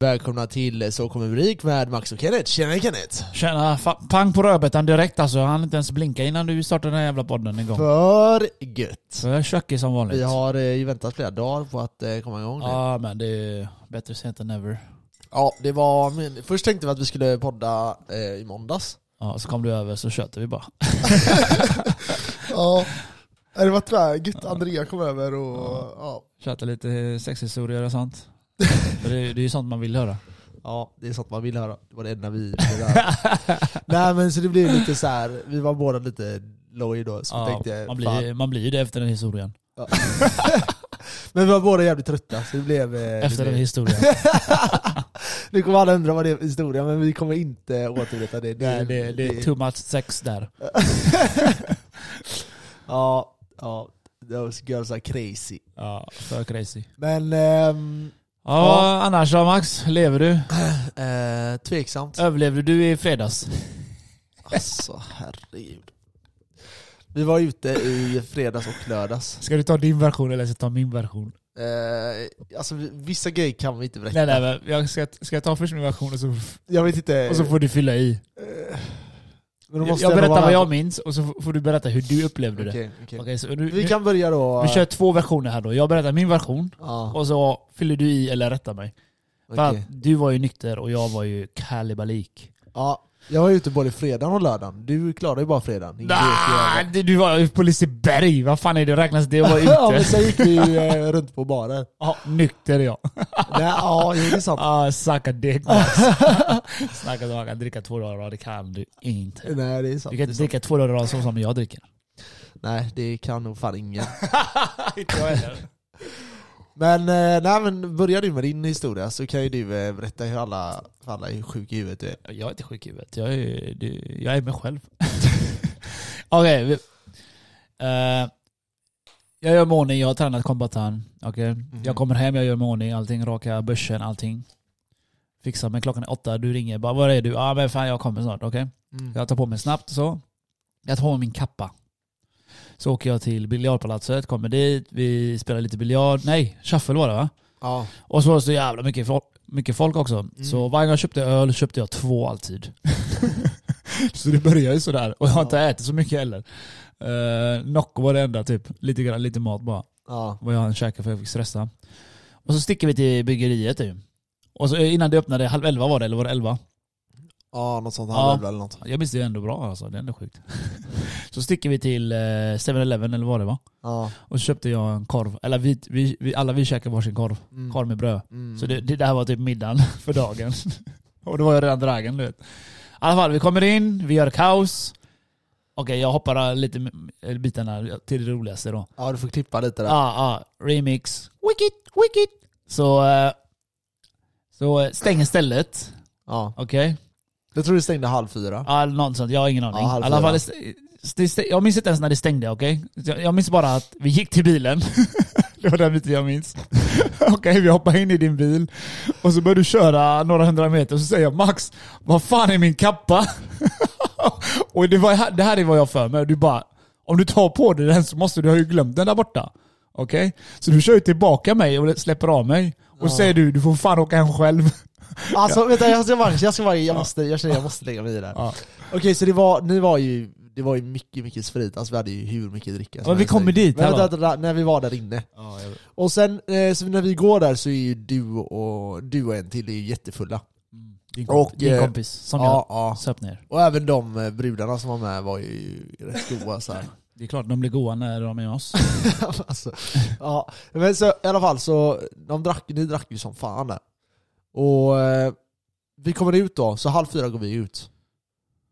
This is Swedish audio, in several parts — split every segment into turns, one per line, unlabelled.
Välkomna till Så kommer vi rik med Max och Kenneth. Tjena Kenneth!
Tjena, fa- pang på rödbetan direkt alltså. Han inte ens blinka innan du startade den här jävla podden en gång.
För gött!
Så jag är tjockig som vanligt.
Vi har eh, ju väntat flera dagar på att eh, komma igång nu.
Ja men det är bättre sent än never.
Ja, det var men, Först tänkte vi att vi skulle podda eh, i måndags.
Ja, så kom du över så köter vi bara.
Ja, det var tvägigt. Andrea kom över och... Ja.
Köter lite sexhistorier och sånt. För det, är- det är ju sånt man vill höra.
ja, det är sånt man vill höra. Det var det enda vi ville höra. Nej men så det blev lite så här. vi var båda lite loj då. Så vi
Ja,
tänkte,
man,
fan.
blir, man blir ju det efter den historien.
Ja. Men vi var båda jävligt trötta så det blev... eh, det
Efter
blev-
den historien.
Nu kommer alla undra vad det är för historia, men vi kommer inte återberätta det.
det, det, det är too much sex där.
ja, ja. Those girls are crazy.
Ja, för crazy.
Men... ehm,
Ja,
Ja.
annars då Max? Lever du?
eh, tveksamt.
Överlevde du i fredags?
Alltså herregud. Vi var ute i fredags och lördags.
Ska du ta din version eller ska jag ta min version?
Eh, alltså vi- vissa grejer kan vi inte berätta.
Nej nej, men jag ska, ska jag ta först min version och så,
Jag vet inte.
och så får du fylla i?
eh, men då
Jag
måste
jag
ändå
berättar
vara-
vad jag minns och så f- får du berätta hur du upplevde det.
Okej, okej.
Okej, så nu,
Vi kan börja då.
nu, vi kör två versioner här då. Jag berättar min version
Ja,
och så fyller du i eller rättar mig. För
okej.
att du var ju nykter och jag var ju kalibalik.
ja, jag var ute både fredagen och lördagen. Du klarade ju bara fredagen. Ingen grek jävel.
Nah, du, du var ju på Liseberg, vad fan är det? Räknas det att vara
Ja, men
ute?
sen gick vi ju eh, runt på barer.
Ja, nykter ja.
Nej, ja, jo, det är sant.
Ah, sucka dick Max. Snacka om att man kan dricka två dagar i rad, det kan du inte.
Nej, det är
Du
sant.
kan inte dricka två dagar i rad så som jag dricker.
Nej, det kan nog fan ingen.
inte jag heller.
Men, eh, nej, men börja du med din historia så kan ju du eh, berätta hur alla, för alla är sjuka i huvudet du är.
Jag är inte sjuk i huvudet. Jag är, det- jag är mig själv. Okej. vi- eh, jag gör mig i ordning, jag har tränat kombatan. Okej. Jag kommer hem, jag gör mig i ordning, allting, rakar börsen, allting. Fixar mig, klockan är åtta, du ringer bara var är du? Ja ah, men fan jag kommer snart, okej?
Mm.
Jag tar på mig snabbt så. Jag tar på mig min kappa. Så åker jag till biljardpalatset, kommer dit, vi spelar lite biljard. Nej, shuffle var det va?
Ja.
Och så var det så jävla mycket folk, mycket folk också. Så varje gång jag köpte öl köpte jag två alltid. så det börjar ju sådär. Och jag har inte ätit så mycket heller. Uh, Nocco var det enda typ. Lite, grann, lite mat bara.
ja.
Vad jag hann käka för jag fick stressa. Och så sticker vi till byggeriet ju. Och så eh, innan det öppnade, halv elva var det, eller var det elva?
Ja, något sånt.
Ja.
Halv elva eller något.
Jag minns det ändå bra alltså, det är ändå sjukt. så sticker vi till eh, 7-Eleven eller vad det var.
Ja.
Och så köpte jag en korv. Eller vi, vi, vi, alla vi käkade varsin korv.
Mm.
Korv med bröd.
Mm.
Så det, det där var typ middagen för dagen. Och då var jag redan dragen du vet. I alla fall, vi kommer in, vi gör kaos. Okej, jag hoppar lite m- bitarna till det roligaste då.
Ja, du får klippa lite där.
Ja, ah, ah, remix. Wicked, wicked. Så, eh, så eh, stänger stället.
Ja.
Okej?
Jag tror du stängde halv fyra.
Ja, eller något sånt. Jag har ingen aning.
Ja, halv
I alla fall,
fyra.
det st- det st- jag minns inte ens när det stängde, okej? Jag- Jag minns bara att vi gick till bilen. det var den biten jag minns. okej, vi hoppar in i din bil och så börjar du köra några hundra meter och så säger jag Max, vad fan är min kappa? och det, var, här- det här är vad jag har för mig. Du bara, om du tar på dig den så måste du ha ju glömt den där borta. Okej? Så du kör ju tillbaka mig och släpper av mig. Och säger du, du får fan åka hem själv.
Alltså vänta, jag ska bara, jag ska bara, jag måste, jag känner jag måste lägga mig i det här.
Ja.
Okej, så det var, ni var ju, det var ju mycket, mycket sprit. Alltså vi hade ju hur mycket dricka som
Men vi
helst.
kommer dit,
Men
här
Vänta,
va?
vänta, vänta, när vi var där inne. Och sen eh, så när vi går där så är ju du och, du och en till är ju jättefulla.
Din,
Och,
din
eh,
kompis som jag
Ja, ja.
söp ner.
Och även de eh, brudarna som var med var ju rätt goa så här.
Det är klart de blir goa när de är med oss.
alltså, ja. Men så, i alla fall så, de drack, ni drack ju som fan där. Och eh, vi kommer ut då, så halv fyra går vi ut.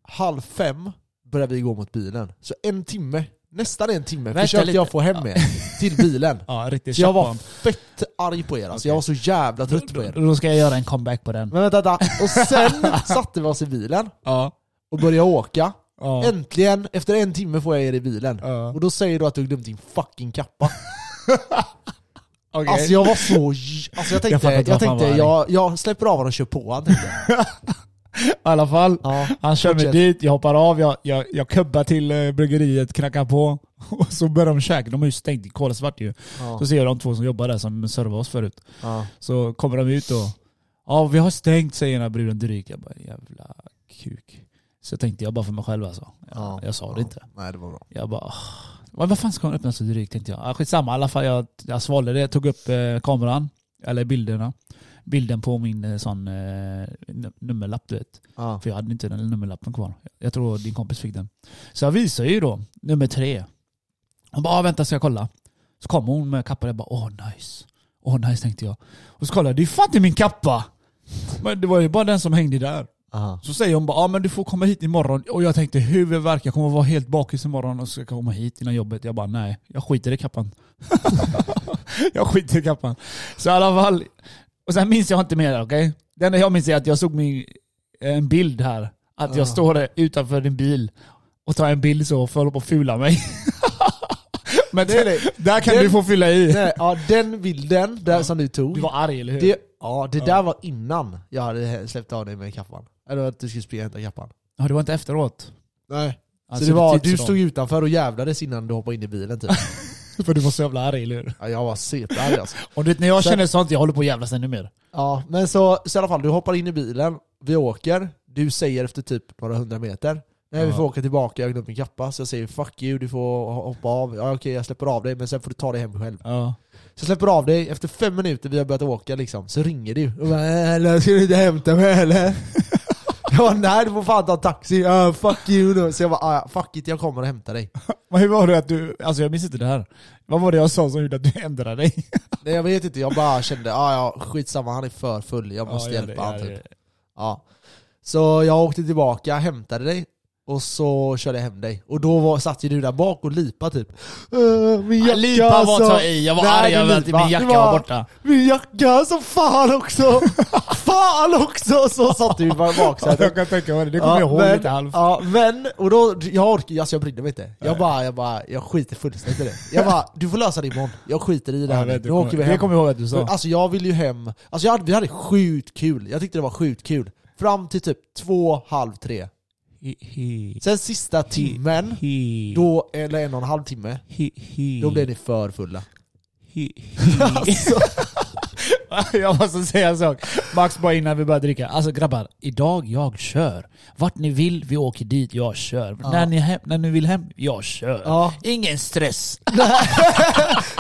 Halv fem börjar vi gå mot bilen. Så en timme, nästan en timme,
Vänta
försökte
lite.
jag få hem er till bilen.
Ja, riktigt
Så jag var
tjackbarn.
fett arg på er alltså, jag var så jävla trött på er.
Då- Då ska jag göra en comeback på den.
Men vänta, vänta. Och sen satte vi oss i bilen
Ja.
och började åka.
ja.
Äntligen, efter en timme får jag er i bilen.
Ja.
Och då säger du att du glömt din fucking kappa.
Okej.
Alltså jag var så... j- Alltså jag
Jag
tänkte,
fattar
jag,
inte varför han
tänkte,
var
jag, jag släpper av honom och kör på honom. tänkte jag.
I alla fall.
Ja.
Han kör mig
Fortsätt.
dit, jag hoppar av, jag, jag, jag kubbar till eh, bryggeriet, knackar på. Och så börjar de käka, de har ju stängt i kolsvart ju.
Ja.
Så ser jag de två som jobbar där som servade oss förut.
Ja.
Så kommer de ut då. Ja, vi har stängt säger den här bruden dryg. Jag bara jävla kuk. Så tänkte jag bara för mig själv alltså. Jag,
Ja.
jag sa det inte.
Nej det var bra.
Jag bara, "Åh, vad vad fan ska hon öppna så drygt tänkte jag. Ah, skitsamma i alla fall, jag, jag svalde det. Jag tog upp eh, kameran, eller bilderna. Bilden på min eh, sån eh, num- nummerlapp du vet.
Ja.
För jag hade inte den nummerlappen kvar. Jag tror din kompis fick den. Så jag visade ju då nummer tre. Hon bara, "Ah, vänta ska jag kolla. Så kom hon med kappan och jag bara, åh nice. Åh nice tänkte jag. Och så kollade jag, det är fan inte min kappa! Men det var ju bara den som hängde där.
Aha.
Så säger hon bara, ja men du får komma hit imorgon. Och jag tänkte huvudvärk, jag kommer vara helt bakis imorgon och ska komma hit innan jobbet. Jag bara, nej, jag skiter i kappan. jag skiter i kappan. Så i alla fall, och sen minns jag inte mer, okej? Det enda jag minns är att jag såg min, en bild här. Att
Ja.
jag står där utanför din bil och tar en bild så, för att hålla på och fula mig. men
Det är
det,
det.
där kan
det-
du få fylla i.
Nej, ja, den bilden där som du tog.
Du var arg, eller hur?
det, ja, det där var innan jag hade släppt av dig med kappan. Eller att du skulle springa och hämta kappan.
Ja, det var inte efteråt.
Nej.
Alltså,
så det var,
tids-
du stod ju utanför och jävlades innan du hoppade in i bilen typ.
För du var så jävla arg, eller hur?
Ja, jag var superarg alltså.
Och du vet, när jag
Sen-
känner sånt, jag håller på att jävlas ännu mer.
Ja, men så, så i alla fall, du hoppar in i bilen, vi åker, du säger efter typ några hundra meter Nej vi
Ja.
får åka tillbaka, jag har glömt min kappa. Så jag säger 'fuck you, du får hoppa av' Ja okej jag släpper av dig, men sen får du ta dig hem själv.
Ja.
Så jag släpper av dig, efter fem minuter vi har börjat åka liksom, så ringer du. Och bara, "Äh, eller ska du inte hämta mig eller? jag bara, nej du får fan ta en taxi, Ja, 'fuck you' då. Så jag bara, "Ah, ja, 'fuck it, jag kommer och hämtar dig'
Men hur var det att du, alltså jag minns inte det här. Vad var det jag sa som gjorde att du ändrade dig?
Nej jag vet inte, jag bara kände, ah, ja skitsamma han är för full, jag måste hjälpa honom typ. Ja. Så jag åkte tillbaka, hämtade dig och så körde jag hem dig. Och då var, satt ju du där bak och lipa typ. "Äh, min jacka
Lipa var
alltså.
att ta i, jag var
Nej,
arg
du
över att
lipa.
min jacka
Du bara,
var borta.
Min jacka som fan också! fan också! Så satt du bara i baksätet.
kan tänka mig det, det
men, ja, men, och då, jag orkar, alltså jag brydde mig inte. Jag bara, jag bara, jag skiter fullständigt i det. Jag bara, du får lösa det imorgon. Jag skiter i det här nu. Nu åker vi hem.
Det kommer jag ihåg att du
Men,
sa.
alltså jag vill ju hem, alltså jag hade, vi hade sjukt kul, jag tyckte det var sjukt kul. Fram till typ två, halv tre. Sen sista timmen, då, eller en och en halv timme, då blev ni för fulla. Alltså,
jag måste säga en sak. Max bara innan vi började dricka. Alltså grabbar, idag jag kör. Vart ni vill, vi åker dit, jag kör. När, ni hem, när ni vill hem, jag kör.
ja.
Ingen stress.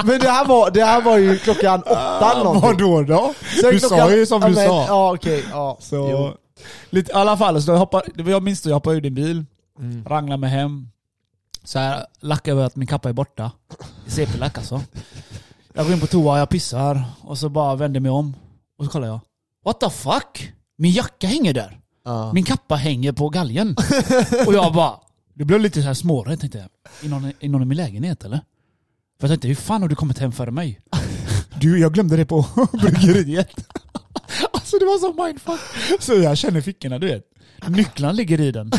Men det här, var, det här var ju klockan åtta eller någonting.
Vadå då?
Sen
Ah, Du
klockan-
sa ju som
ja,
du
men-
sa.
Ja okej, ja.
Så,
Jo.
lite, I alla fall, så jag, hoppar, det var- jag minns att jag hoppade ur din bil,
Mm.
ranglade mig hem. Så här, lackade över att min kappa är borta. CP-lack alltså. Jag går in på toa, jag pissar och så bara vänder mig om. Och så kollar jag. What the fuck? Min jacka hänger där.
Ja.
Min kappa hänger på galgen. och jag bara, det blev lite så här smårädd tänkte jag. Är någon, är någon i min lägenhet eller? För jag tänkte, hur fan har du kommit hem före mig? du, jag glömde det på bryggeriet. alltså det var så mindfuck. Så jag känner fickorna, du vet. Nycklarna ligger i den.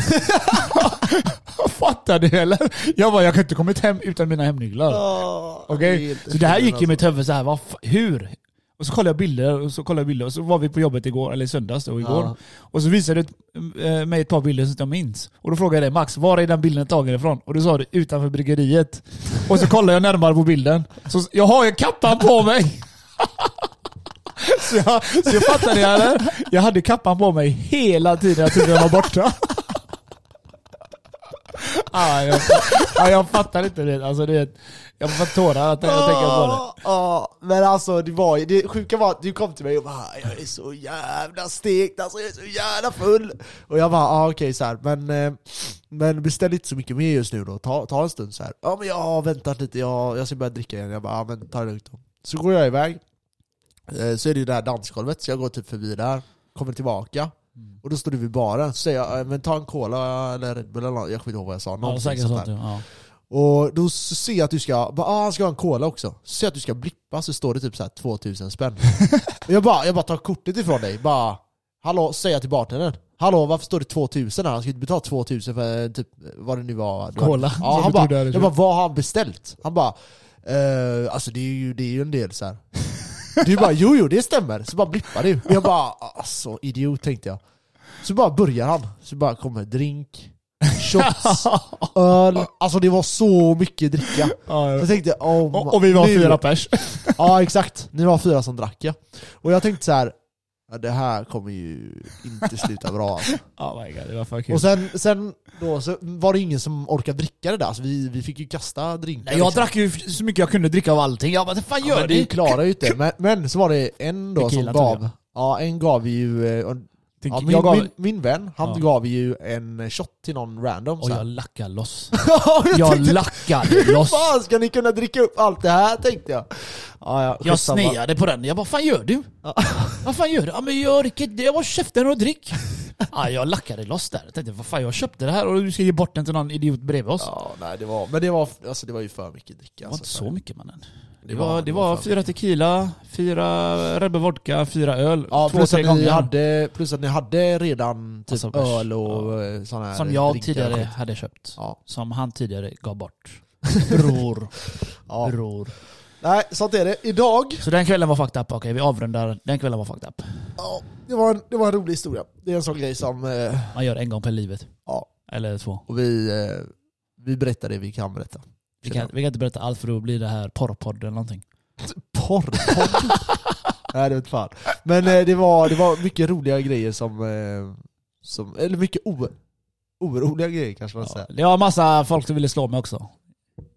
Fattar du eller? Jag bara, jag kan inte kommit hem utan mina hemnycklar.
Ja,
Okej?
Ah, helt
Så det här gick i
alltså.
mitt huvud så här, vad fa- hur? Och så kollade jag bilder och så kollade jag bilder och så var vi på jobbet igår, eller i söndags då, igår.
Ja.
Och så visade du ett- eh, mig ett par bilder som jag minns. Och då frågade jag dig Max, var är den bilden tagen ifrån? Och du sa det utanför bryggeriet. Och så kollade jag närmare på bilden. Så s- jag har ju kappan på mig! Så jag, så jag fattade jag eller? Jag hade kappan på mig hela tiden jag trodde den var borta. Ah, jag, ah, jag fattar inte det. Alltså, du vet, jag får tårar att jag tänker på det.
Ja, ja, men alltså det var ju, det sjuka var att du kom till mig och bara jag är så jävla stekt alltså, jag är så jävla full. Och jag bara ah, okej så här, men, eh, men beställ inte så mycket mer just nu då, ta, ta en stund så här. Ja men jag har väntat lite, jag, jag ska börja dricka igen. Jag bara ah, men ta det lugnt då. Så går jag iväg, eh, så är det ju det här dansgolvet, så jag går typ förbi där, kommer tillbaka.
Mm.
Och då står du vid baren, så säger jag "Eh, men ta en cola eller Red Bull eller något. jag kommer inte ihåg vad jag sa.
Ja,
någonting
säkert
sånt
sånt.
där.
ja. Ja.
Och då s- ser jag att du ska, bara, ah, han ska ha en cola också. Så ser jag att du ska blippa så står det typ så här 2000 spänn. och jag bara, jag bara tar kortet ifrån dig, bara Hallå, säger jag till bartendern. Hallå, varför står det 2000 här? Han skulle inte betala 2000 för eh, typ, vad det nu var. du hade-
Cola.
Ja,
Som
han
du
bara,
trodde hade
jag bara, vad har han beställt? Han bara, eh, alltså det är, ju, det är ju en del så här. Du bara, jo jo det stämmer. Så bara blippar du. Jag bara, alltså idiot tänkte jag. Så bara börjar han. Så bara kommer drink, shots, öl. Alltså det var så mycket dricka. Så jag tänkte, oh,
Och, och vi var
nu-
fyra pers.
Ja exakt, ni var fyra som drack ja. Och jag tänkte så här. Ja, det här kommer ju inte sluta bra alltså.
Oh my god, det var för kul.
Och sen, sen då så var det ingen som orkade dricka det där, så vi, vi fick ju kasta drinkar.
Nej, jag
liksom.
drack ju så mycket jag kunde dricka av allting. Jag bara, vad fan
ja,
gör
men
du?
Vi klarar ju inte. Men, men så var det en då som
Tequila, tror
gav...
jag.
Ja, en gav ju... eh, och-
Tänk,
Ja,
jag
min,
gav...
min, min vän, han
Ja.
gav ju en shot till någon random.
och
så här.
jag lackade loss.
Ja, jag
Jag
tänkte,
lackade
Hur
loss.
fan ska ni kunna dricka upp allt det här tänkte jag. Ja, ja,
Jag
skitsamma.
sneade på den. Jag bara, fan gör du?
Ja.
Vad fan gör du? Ja, men jag dricker det. Jag var käften och drick. Ja, jag lackade loss där. Jag tänkte, vad fan jag köpte det här och du ska ge bort den till någon idiot bredvid oss.
Ja, nej, det var, men det var, alltså, det var ju för mycket dricka.
det var
alltså,
inte så mycket mannen.
Det
Det var, det var
för
fyra
mycket.
tequila, fyra Rebbe vodka, fyra öl.
Ja,
två,
plus,
tre
att ni
gånger.
hade, plus att ni hade redan typ
Alltså, bärs.
öl och ja. sådana här
som jag
drinkar.
tidigare hade köpt.
Ja.
Som han tidigare gav bort. Bror.
Ja.
Bror.
Nej, sånt är det. Idag,
Så den kvällen var fucked up. Okej, vi avrundar. Den kvällen var fucked up.
ja, det, var en, det var en rolig historia. Det är en sån grej som, eh,
Man gör en gång per livet.
ja,
Eller två.
och vi, eh, vi berättar det vi kan berätta.
Vi kan, vi kan inte berätta allt för då blir det här porrpodd eller någonting.
Porrpodd? Nej det vet fan. Men eh, det, var, det var mycket roliga grejer som, eh, som eller mycket o, oroliga grejer kanske man
Ja.
säger.
Det var massa folk som ville slå mig också.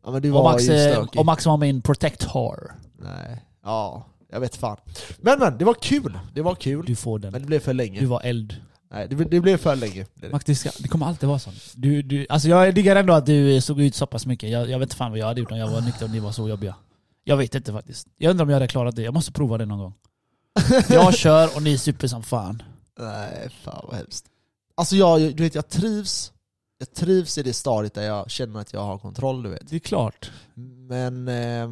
Ja men du
Och
var
Max,
ju
eh,
stökig.
och Max var min protector.
Nej, ja jag vet fan. Men men, det var kul. Det var kul.
Du får
Men
den.
det blev för
Du
länge.
var eld.
Nej det, blev- det blev för länge. Det-
Max, det, ska, det kommer alltid vara så. Du, du, alltså jag diggar ändå att du eh, såg ut så pass mycket. Jag, jag vet inte fan vad jag hade gjort om jag var nykter och ni var så jobbiga. Jag vet inte faktiskt. Jag undrar om jag hade klarat det. Jag måste prova det någon gång. Jag kör och ni super som fan.
Nej fan vad hemskt. Alltså jag, du vet jag trivs, jag trivs i det stadiet där jag känner att jag har kontroll du vet.
Det är klart.
Men eh,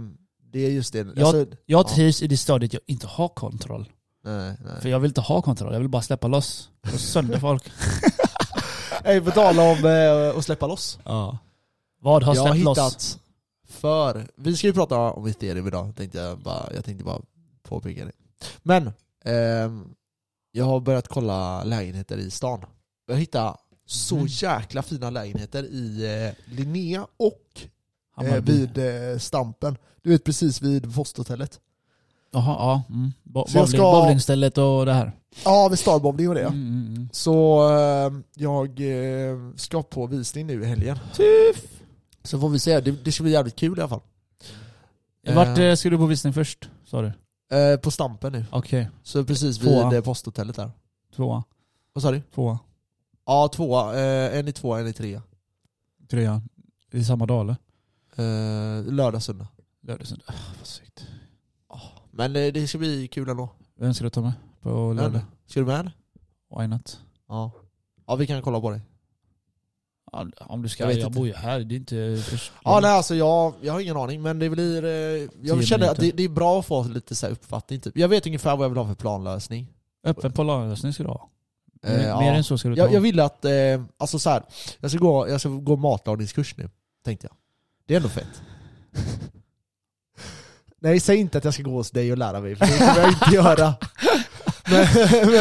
det är just det.
Jag-
Alltså,
Jag
Ja.
trivs i det stadiet jag inte har kontroll.
nej, nej.
För jag vill inte ha kontroll. Jag vill bara släppa loss. Och sönder folk.
Ey, på tal om eh, att släppa loss.
Ja. Vad har
jag har
släppt
hittat
loss?
för... Vi ska ju prata om ethereum idag, tänkte jag bara, jag tänkte bara påpeka det. Men, ehm, jag har börjat kolla lägenheter i stan. Jag hittar så
Mhm.
jäkla fina lägenheter i eh, Linnea och eh,
Hammarby.
vid eh, Stampen. Du vet precis vid Vosthotellet.
Jaha, ja. Mm. Bo-
Så jag
bowling-
ska-
Bowlingstället och det här.
Ja, vid Starbomning och det ja.
Mm, mm, mm.
Så eh, jag eh, ska på visning nu i helgen. Så får vi se, det, det ska bli jävligt kul i alla fall.
Vart eh, ska du på visning först? Sa du?
Eh, på Stampen nu.
Okej,
Så precis vid
Tvåa.
eh, posthotellet där.
tvåa.
Vad sa du?
Tvåa.
Ja, tvåa. Eh, en i tvåa, en i trea.
Trea. I samma dag eller?
Eh, lördag, söndag.
Lördag, söndag. Ah, Vad segt.
Men eh, det ska bli kul ändå.
Vem ska du ta med på lördag?
Ska du med eller?
Why not?
Ja. Ja, vi kan kolla på det.
Ja, Om du ska,
Jag
jag,
vet inte.
bor ju här. Det är inte först.
Ja, nej alltså jag, jag har ingen aning men det blir... Eh, jag
Tio
känner att
minuter.
det, det är bra att få lite så här uppfattning typ. Jag vet ungefär vad jag vill ha för planlösning.
Öppen på lördagsning ska du ha.
Eh,
Mm, Mer
ja.
än så ska du ta.
Jag, jag ville att, eh, alltså så här, jag ska gå, jag ska gå matlagningskurs nu, tänkte jag. Det är ändå fett. Nej, säg inte att jag ska gå hos dig och lära mig, för det kommer jag inte göra. Men, men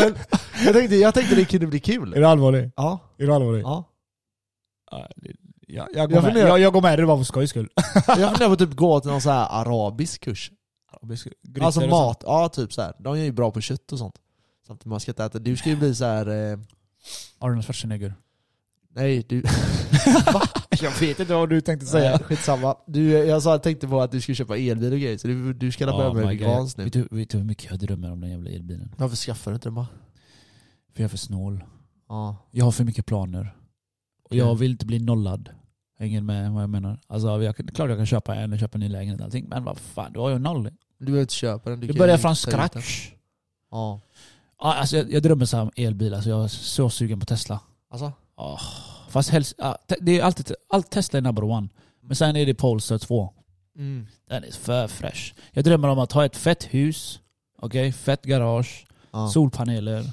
jag, tänkte, jag tänkte det kunde bli kul.
du allvarlig?
Ja,
Är du allvarlig?
ja.
Jag, jag,
Jag funderar-
går med dig bara för skojs skull.
Jag funderar på att typ gå till någon så här arabisk kurs. Alltså
Grytor och sånt.
mat, ja typ så här. De är ju bra på kött och sånt. Samtidigt man ska inte äta, du ska ju bli så här. Eh,
Arnold Schwarzenegger.
nej du...
Jag vet inte vad du tänkte
Nej, skitsamma. Du, jag sa, jag tänkte på att du skulle köpa elbil och grejer, så du, du ska börja med veganskt nu.
Vet du, vet du hur mycket jag drömmer om den jävla elbilen?
Varför skaffar du inte den bara?
För jag är för snål.
Ja.
Jag har för mycket planer. Och jag vill inte bli nollad. Hänger med vad jag menar? Alltså jag, det är klart jag kan köpa en och köpa en ny lägenhet och allting. Men vad fan, då har jag noll.
Du behöver inte köpa den. Du
Det
kan
börjar
ju
från
ta ut den.
scratch.
Ja.
Ja, alltså jag, jag drömmer så här om elbil. Alltså jag är så sugen på Tesla.
Alltså?
Oh. Fast helst, ja, te, det är alltid, allt Tesla är number one. Men sen är det Polestar 2.
Mm.
Den är för fresh. Jag drömmer om att ha ett fett hus. Okej, fett garage.
Ja.
Solpaneler.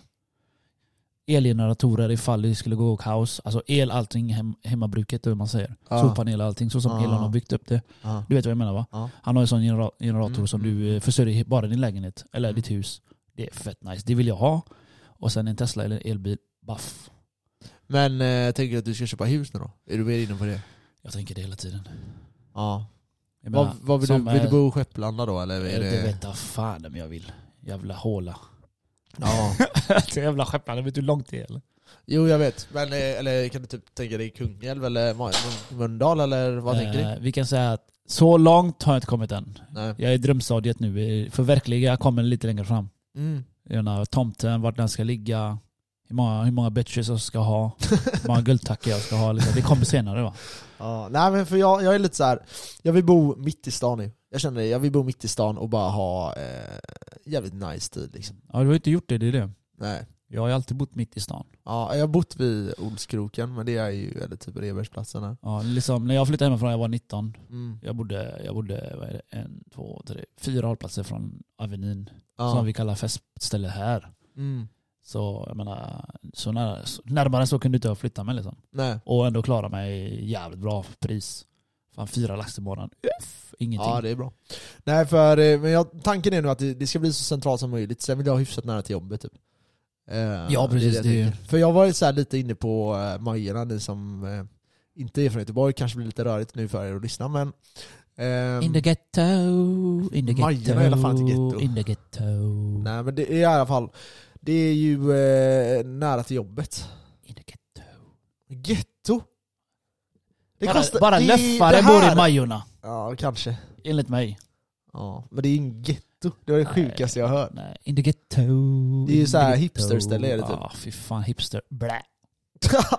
Elgeneratorer ifall det skulle gå kaos. Alltså el, allting hem, hemmabruket, hur man säger.
Ja.
Solpaneler, allting. Så som
Ja.
Elon har byggt upp det.
Ja.
Du vet vad jag menar va?
Ja.
Han har en sån genera- generator
Mm,
som
mm.
du eh, försörjer he- bara din lägenhet, eller
Mm.
ditt hus. Det är fett nice. Det vill jag ha. Och sen en Tesla eller en elbil. Baff.
Men eh, tänker du att du ska köpa hus nu då? Är du mer inne på det?
Jag tänker det hela tiden.
Ja.
Jag
Vad, vad vill, du,
som,
vill du
eh,
bo i Skepplanda då eller? Är
det
det...
vet jag fan om jag vill. Jävla håla.
Ja.
Så jävla Skepplanden, vet du hur långt det är eller?
Jo jag vet, men eh, eller kan du typ tänka dig Kungälv eller Ma- Mölndal eller vad tänker du?
Eh, Vi kan säga att så långt har jag inte kommit än.
Nej.
Jag är i drömstadiet nu. Förverkliga jag kommer lite längre fram.
Mm.
Jag menar, tomten, vart den ska ligga, hur många, hur många bitches jag ska ha, hur många guldtackor jag ska ha. Liksom. Det kommer senare va?
Ja, nej men för jag, jag är lite så här. jag vill bo mitt i stan nu. Jag känner det, jag vill bo mitt i stan och bara ha eh, jävligt nice tid liksom.
Ja, du har ju inte gjort det, det är det.
Nej.
Jag har ju alltid bott mitt i stan.
Ja, jag har bott vid Olskroken, men det är ju, eller typ Rebergsplatsen här.
Ja, liksom, när jag flyttade hemifrån jag var 19,
Mm.
jag bodde, jag bodde vad är det, en, två, tre, fyra hållplatser från Avenyn,
Ja.
som vi kallar festställe här.
mm.
Så jag menar, så nära, så, närmare så kunde inte jag flytta mig liksom.
Nej.
Och ändå klara mig jävligt bra för pris. Fan fyra lax i månaden, Uff, ingenting.
Ja, det är bra. Nej, för eh, men jag, tanken är nu att det, det ska bli så centralt som möjligt. Sen vill jag ha hyfsat nära till jobbet typ. Eh,
Ja, precis,
jag
det är ju-
tänker. För jag var ju så här lite inne på eh, Majorna, ni som eh, inte är från Göteborg. Kanske blir lite rörigt nu för er att lyssna, men... ehm,
In the ghetto, in the ghetto.
Majorna är i alla fall inte ghetto.
In the ghetto.
Nej, men det är i alla fall... Det är ju eh, nära till jobbet.
In the ghetto.
Getto! Det
bara
kostar-
bara
det-
löffare
det här-
bor i Majorna,
Ja, kanske.
enligt mig.
Ja, men det är inget getto. Det var det
Nej.
sjukaste jag har hört.
Nej, in the ghetto.
Det är ju
in
så här
the ghetto.
hipsterställe är det typ.
Ja, fy fan hipster. Blä.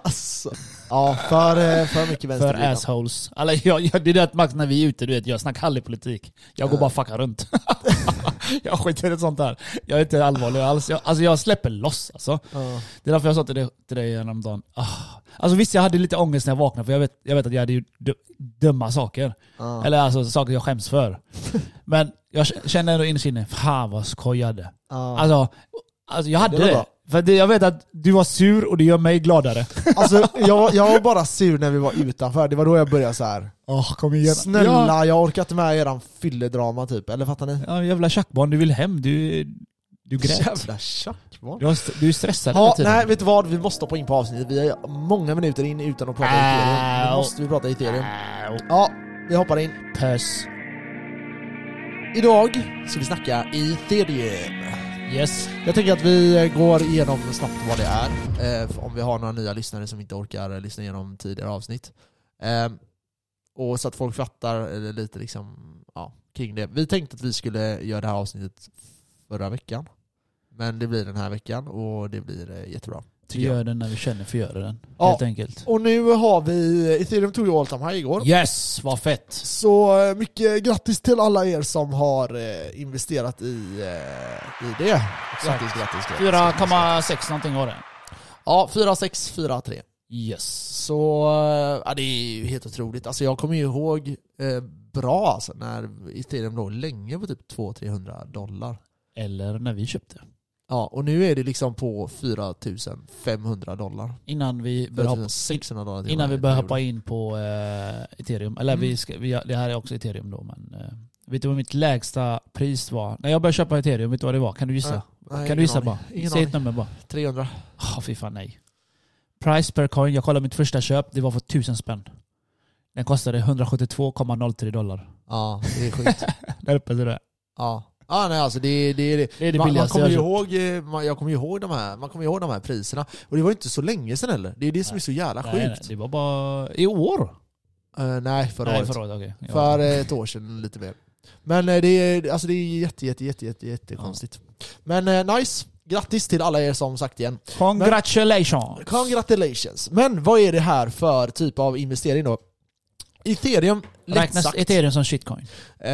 alltså. Ja, för, eh, för mycket
För
vänstervridna.
assholes. Alltså, jag, jag, det är det att Max när vi är ute, du vet, jag snackar aldrig politik. Jag går
Ja.
bara fucka runt. jag skiter i sånt där. Jag är inte allvarlig alls. Jag, alltså jag släpper loss alltså.
Ja.
Det är därför jag sa till dig, till dig häromdagen. Ah. Alltså visst, jag hade lite ångest när jag vaknade för jag vet, jag vet att jag hade gjort dö- dumma saker.
Ja.
Eller alltså saker jag skäms för. Men jag k- känner ändå innerst inne, fan vad skojade.
Ja.
Alltså, alltså jag hade
Det
det.
var bra.
För det, jag vet att du var sur och det gör mig gladare.
Alltså, jag, var- jag var bara sur när vi var utanför. Det var då jag började så här.
Oh, kom igen. Ja,
Snälla, jag orkar inte med eran fylledrama typ. Eller fattar ni?
ja, jävla tjackbarn, du vill hem. Du, du grät.
Jävla tjackbarn.
Du, har st- du är stressad hela
Ja,
tiden.
nej, vet du vad? Vi måste hoppa in på avsnittet. Vi är många minuter in utan att prata
Ow. Äh,
Ethereum. Nu måste vi prata Ethereum. Ja, vi hoppar in.
Puss.
Idag ska vi snacka Ethereum.
Yes.
Jag tänker att vi går igenom snabbt vad det är, eh, för om vi har några nya lyssnare som inte orkar eh, lyssna igenom tidigare avsnitt. Eh, Och så att folk fattar eh, lite liksom, ja, kring det. Vi tänkte att vi skulle göra det här avsnittet förra veckan, men det blir den här veckan och det blir eh, jättebra.
Vi
Tycker jag.
gör den när vi känner för att göra den.
Ja.
Helt enkelt.
Och nu har vi, Ethereum tog ju all time high igår.
Yes, vad fett.
Så eh, mycket grattis till alla er som har eh, investerat i, eh, i det. Grattis, grattis, grattis.
4,6 någonting var det.
Ja, 4643.
Yes.
Så eh, ja, det är ju helt otroligt. Alltså jag kommer ju ihåg eh, bra alltså, när ethereum låg länge på typ 200-300 dollar.
Eller när vi köpte.
Ja, och nu är det liksom på 4500 dollar.
Innan vi började hoppa,
4600 dollar till och
innan
med.
vi började hoppa in på eh, ethereum. Eller
Mm.
vi ska, vi, det här är också ethereum då. Men, eh, vet du vad mitt lägsta pris var? När jag började köpa ethereum, vet du vad det var? Kan du gissa?
Nej, nej,
kan
Eh, ingen
du gissa
aning.
bara?
Ingen
Säg ett
aning.
nummer bara.
300.
Oh, fy fan nej. Price per coin, jag kollade mitt första köp, det var för 1000 spänn. Den kostade 172,03 dollar.
Ja, det är sjukt.
Där uppe ser du.
ja. Ja, nej alltså det, det, det.
Det är det
man, man
billigaste jag
kommer
har
ju
köpt.
ihåg, eh, man, jag kommer ju ihåg de här, man kommer ju ihåg de här priserna. Och det var ju inte så länge sedan heller. Det är det som är så jävla sjukt.
Nej, nej, det var bara i år.
Eh, nej förra
nej,
året.
förra året. okej. Ja.
För eh, ett år sedan lite mer. Men eh, det är, alltså det är jätte, jätte, jätte, jätte, jätte konstigt. Men eh, nice. Grattis till alla er som sagt igen.
Congratulations!
Congratulations. Men vad är det här för typ av investering då? Ethereum, lätt
Räknas
sagt.
ethereum som shitcoin?
Eh,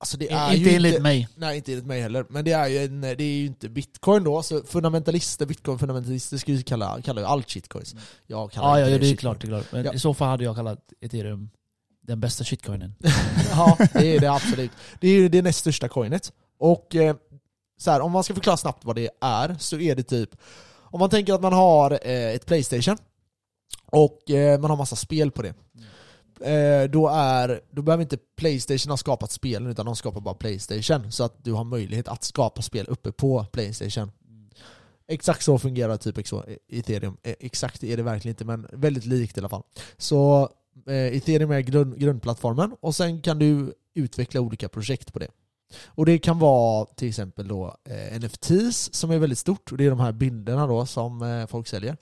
alltså det är
inte
ju
enligt
inte,
mig.
Nej, inte enligt mig heller. Men det är ju, en, det är ju inte bitcoin då. Så fundamentalister, bitcoin-fundamentalister skulle ju kalla, kalla ju allt shitcoins. Jag kallar
Mm. Ja,
inte
ja, det är
shitcoin.
klart. Det är klart. Men
Ja.
I så fall hade jag kallat ethereum den bästa shitcoinen.
Ja, det är det absolut. Det är ju det näst största coinet. Och eh, så här, om man ska förklara snabbt vad det är, så är det typ... Om man tänker att man har eh, ett Playstation och eh, man har massa spel på det. Eh, då, är, då behöver inte Playstation ha skapat spelen, utan de skapar bara Playstation. Så att du har möjlighet att skapa spel uppe på Playstation. Exakt så fungerar typ exo- ethereum. Eh, Exakt är det verkligen inte, men väldigt likt i alla fall. Så eh, ethereum är grund, grundplattformen och sen kan du utveckla olika projekt på det. Och det kan vara till exempel då eh, NFTs som är väldigt stort. Och det är de här bilderna då som eh, folk säljer.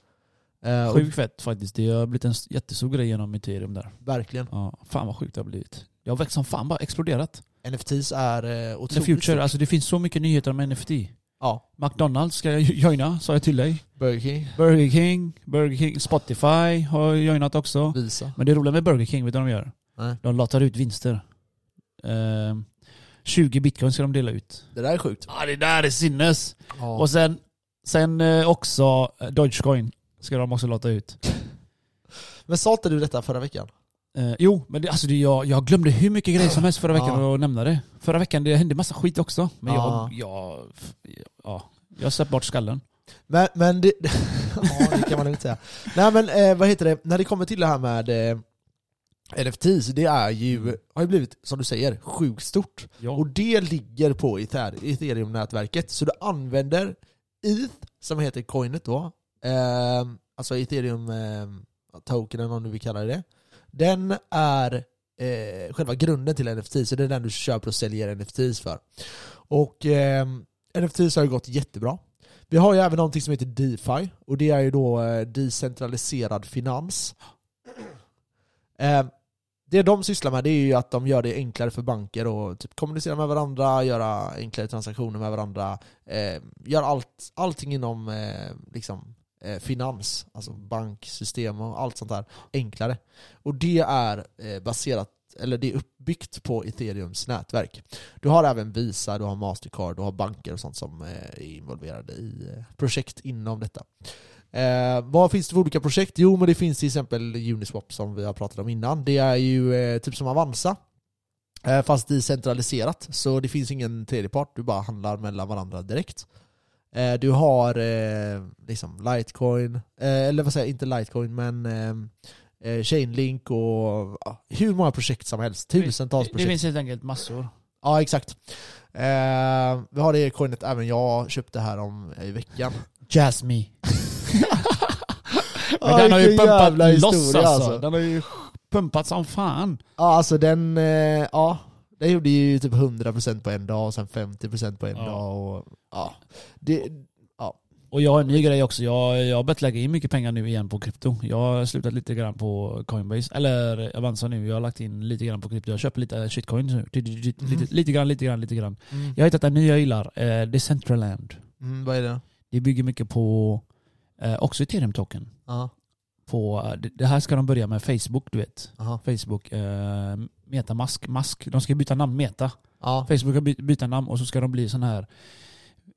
Eh, och
Sjukt fett faktiskt. Det har blivit en s- jättestor grej genom ethereum där.
verkligen.
Ja, fan vad sjukt det har blivit. Det har växt som fan, bara exploderat.
NFTs är eh,
The
otroligt stort.
future, alltså det finns så mycket nyheter om NFT.
Ja,
McDonalds ska jag joina, sa jag till dig.
Burger King,
Burger King, Burger King, Spotify har joinat också.
Visa.
Men det roliga med Burger King, vet du vad de gör?
Nej.
De lottar ut vinster. Ehm, 20 bitcoin ska de dela ut.
Det där är sjukt.
ah, det där är sinnes!
Ja.
Och sen, sen eh, också eh, Dogecoin ska de också låta ut.
Men sa inte du detta förra veckan?
Eh, jo, men det, alltså det, jag, jag glömde hur mycket grejer som helst förra veckan
Ja.
och nämna det. Förra veckan det hände massa skit också. Men
Ja.
jag, jag, f- ja, jag släppte bort skallen.
Men, men det, ja, det kan man inte säga. Nej men eh, vad heter det, när det kommer till det här med eh, NFTs, det är ju, har ju blivit, som du säger, sjukt stort.
Ja.
Och det ligger på Ether- ethereum-nätverket. Så du använder ETH, som heter coinet då, eh, alltså ehm, ethereum-tokenen om du vill kalla det det. Den är eh, själva grunden till NFT, så det är den du köper och säljer NFTs för. Och eh, NFTs har ju gått jättebra. Vi har ju även någonting som heter DeFi och det är ju då eh, decentraliserad finans. Eh, det de sysslar med det är ju att de gör det enklare för banker och typ kommunicera med varandra, göra enklare transaktioner med varandra. Eh, gör allt, allting inom eh, liksom, eh, finans, alltså banksystem och allt sånt där enklare. Och det är eh, baserat, eller det är uppbyggt på ethereums nätverk. Du har även Visa, du har Mastercard, du har banker och sånt som eh, är involverade i eh, projekt inom detta. Eh, vad finns det för olika projekt? Jo, men det finns till exempel Uniswap som vi har pratat om innan. Det är ju eh, typ som Avanza, eh, fast decentraliserat. Så det finns ingen tredjepart, du bara handlar mellan varandra direkt. Eh, du har eh, liksom Litecoin, eh, eller vad säger jag, inte Litecoin, men eh, eh, Chainlink och ja, hur många projekt som helst. Tusentals
Det
projekt.
finns helt enkelt massor.
Ja, exakt. Eh, vi har det coinet även jag köpte här om eh, i veckan.
Jazz me. Men
Ja,
den har ju
vilken
pumpat
jävla
loss alltså.
historia,
Den har ju pumpat som fan.
Ja, alltså den, eh, ja. Den gjorde ju typ 100% på en dag och sen 50% på en
Ja.
dag. Och, ja. Det,
Och jag har en ny grej också. Jag, jag har börjat lägga in mycket pengar nu igen på krypto. Jag har slutat lite grann på Coinbase. Eller Avanza nu. Jag har lagt in lite grann på krypto. Jag köper lite shitcoins nu. Lite,
Mhm.
lite, lite grann, lite grann, lite grann.
mm,
Jag har hittat en ny jag gillar. Eh, Decentraland.
mm, vad är det?
Det bygger mycket på eh, också ethereum-token.
Ja,
På, eh, det- det här ska de börja med Facebook, du vet.
aha.
Facebook, eh, Metamask, Mask. De ska byta namn, Meta.
Ja,
Facebook ska by- byta namn och så ska de bli sån här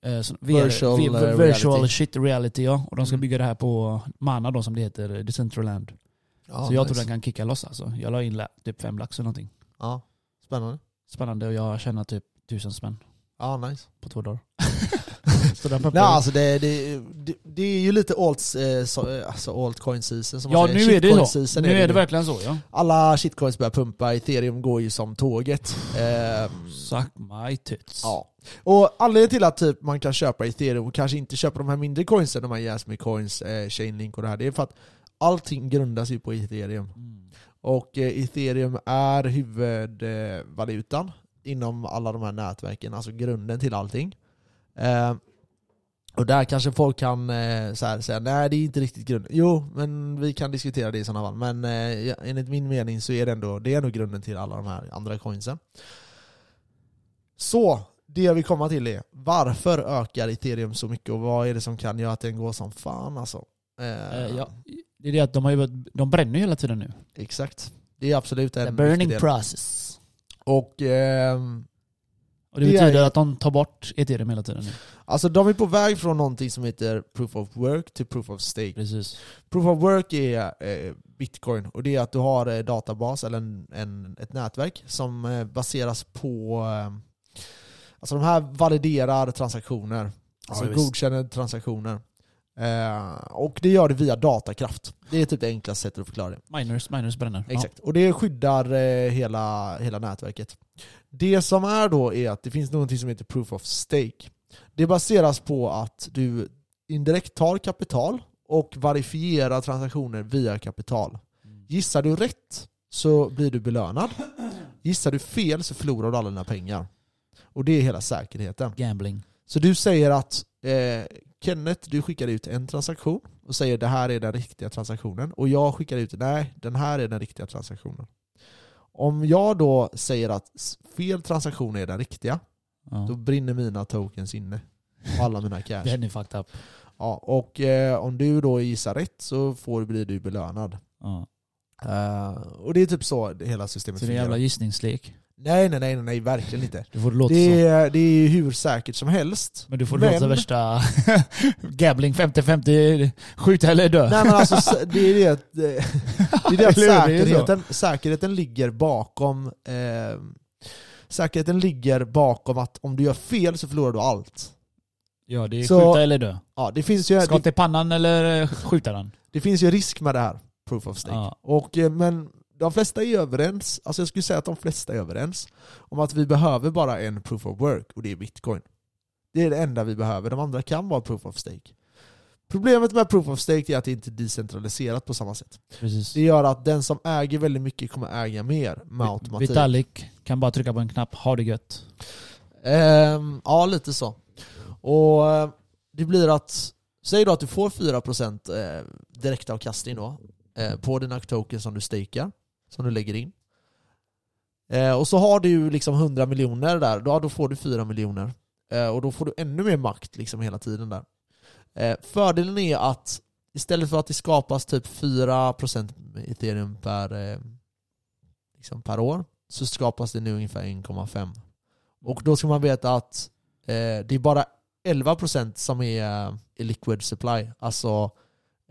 eh, sån- VR,
Virtual,
vi-
eh,
virtual
reality.
shit reality ja. Och de ska
Mm.
bygga det här på Mana då som det heter, Decentraland.
ja,
så jag tror
Ah, nice.
den kan kicka loss alltså. Jag la in la- typ fem lax eller någonting.
Ja, spännande.
Spännande och jag tjänar typ tusen spänn
Ja, nice.
på två dagar. så den
Nej,
peppar.
alltså det, det, det, det är ju lite alts, eh, så, eh, alltså altcoin season som
Ja
man säger.
nu är det
Shitcoin
så.
season
Nu är det
nu.
verkligen så
Mm.
ja.
Alla shitcoins börjar pumpa, ethereum går ju som tåget. Ehm,
Suck my tits.
Ja. Och anledningen till att typ, man kan köpa ethereum och kanske inte köpa de här mindre coinsen, de här Jasmine coins, eh, Chainlink och det här, det är för att allting grundas ju på ethereum.
Mm.
Och eh, ethereum är huvudvalutan eh, valutan inom alla de här nätverken, alltså grunden till allting. Eh, och där kanske folk kan eh, så här, säga nej det är inte riktigt grunden. Jo, men vi kan diskutera det i sådana fall. Men eh, ja, enligt min mening så är det ändå, det är ändå grunden till alla de här andra coinsen. Så, det jag vill komma till är varför ökar ethereum så mycket och vad är det som kan göra att den går som fan alltså? Eh,
Eh, ja. Det är det att de, har ju, börjat- de bränner ju hela tiden nu.
Exakt. Det är absolut en
The
viktig
burning
del.
process.
Och ehm,
Och det,
Det är
betyder
ju-
att de tar bort ethereum hela tiden nu.
Alltså de är på väg från någonting som heter proof of work till proof of stake.
Precis.
Proof of work är eh, bitcoin och det är att du har eh, databas eller en, en, ett nätverk som eh, baseras på eh, Alltså de här validerar transaktioner. Alltså
Ja, visst.
godkänner transaktioner. Eh, och det gör det via datakraft. Det är typ det enklaste sättet att förklara det.
Miners, miners bränner.
Exakt. Och det skyddar eh, hela, hela nätverket. Det som är då är att det finns någonting som heter proof of stake. Det baseras på att du indirekt tar kapital och verifierar transaktioner via kapital. Gissar du rätt så blir du belönad. Gissar du fel så förlorar du alla dina pengar. Och det är hela säkerheten.
Gambling.
Så du säger att eh, Kenneth, du skickar ut en transaktion och säger det här är den riktiga transaktionen. Och jag skickar ut, nej, den här är den riktiga transaktionen. Om jag då säger att s- fel transaktion är den riktiga,
Ja.
då brinner mina tokens inne. Och alla mina cash.
Den är fucked up.
Ja, och eh, om du då gissar rätt så får, blir du belönad.
Ja.
Eh, och det är typ så det hela systemet
Så det är
fungerar.
jävla gissningslek.
Nej, nej, nej, nej, nej, verkligen inte.
Du får det låta så.
Det är, det är hur säkert som helst.
Men du får
Men-
låta värsta gambling 50-50, skjut eller dö.
Nej men alltså s- det är det att, det är det att
Eller hur? Det är så.
säkerheten, säkerheten ligger bakom eh, Säkerheten ligger bakom att om du gör fel så förlorar du allt.
Ja, det är
Så-
skjuta eller dö.
Ja, det, finns ju, det,
Skott i pannan eller eh, skjuta den.
det finns ju risk med det här, proof of stake.
Ja.
Och, eh, men de flesta är överens, alltså jag skulle säga att de flesta är överens om att vi behöver bara en proof of work och det är bitcoin. Det är det enda vi behöver, de andra kan vara proof of stake. Problemet med proof of stake är att det inte är decentraliserat på samma sätt.
Precis.
Det gör att den som äger väldigt mycket kommer äga mer med automatik.
Vitalik kan bara trycka på en knapp, ha det gött.
Ehm, ja, lite så. Och eh, det blir att, säg då att du får 4% eh, direktavkastning då, eh, på dina tokens som du stakar, som du lägger in. Eh, och så har du liksom 100 miljoner där, då, då får du 4 miljoner. Eh, och då får du ännu mer makt liksom hela tiden där. Eh, fördelen är att istället för att det skapas typ 4% ethereum per, eh, liksom per år, så skapas det nu ungefär 1,5. Och då ska man veta att eh, det är bara 11% som är eh, liquid supply. Alltså...
Tra-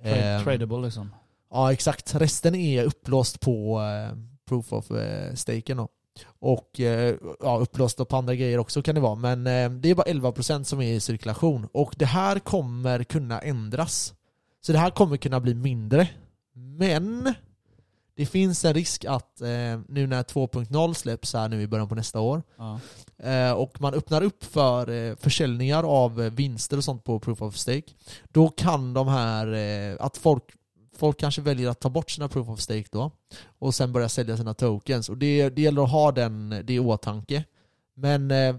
ehm,
Tradable liksom.
Ja exakt, resten är upplåst på eh, proof of eh, staken då. Och eh, ja, upplåst på andra grejer också kan det vara. Men eh, det är bara 11% som är i cirkulation. Och det här kommer kunna ändras. Så det här kommer kunna bli mindre. Men det finns en risk att eh, nu när 2.0 släpps här nu i början på nästa år
Ja.
eh, och man öppnar upp för eh, försäljningar av eh, vinster och sånt på Proof of Stake, då kan de här, eh, att folk, folk kanske väljer att ta bort sina Proof of Stake då och sen börja sälja sina tokens. Och det, det gäller att ha den, det i åtanke. Men eh,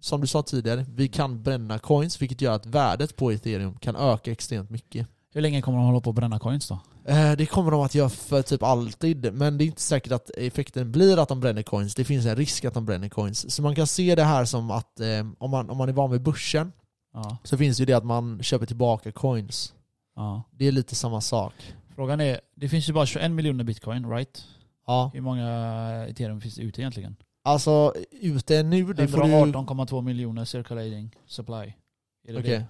som du sa tidigare, vi kan bränna coins vilket gör att värdet på ethereum kan öka extremt mycket.
Hur länge kommer de hålla på att bränna coins då?
Eh, Det kommer de att göra för typ alltid, men det är inte säkert att effekten blir att de bränner coins. Det finns en risk att de bränner coins. Så man kan se det här som att eh, om man, om man är van vid börsen
Ja.
så finns ju det att man köper tillbaka coins.
Ja.
Det är lite samma sak.
Frågan är, det finns ju bara 21 miljoner bitcoin, right?
Ja.
Hur många ethereum finns det ute egentligen?
Alltså ute nu, det får du...
118,2 miljoner circulating supply. Är det
Okej.
det?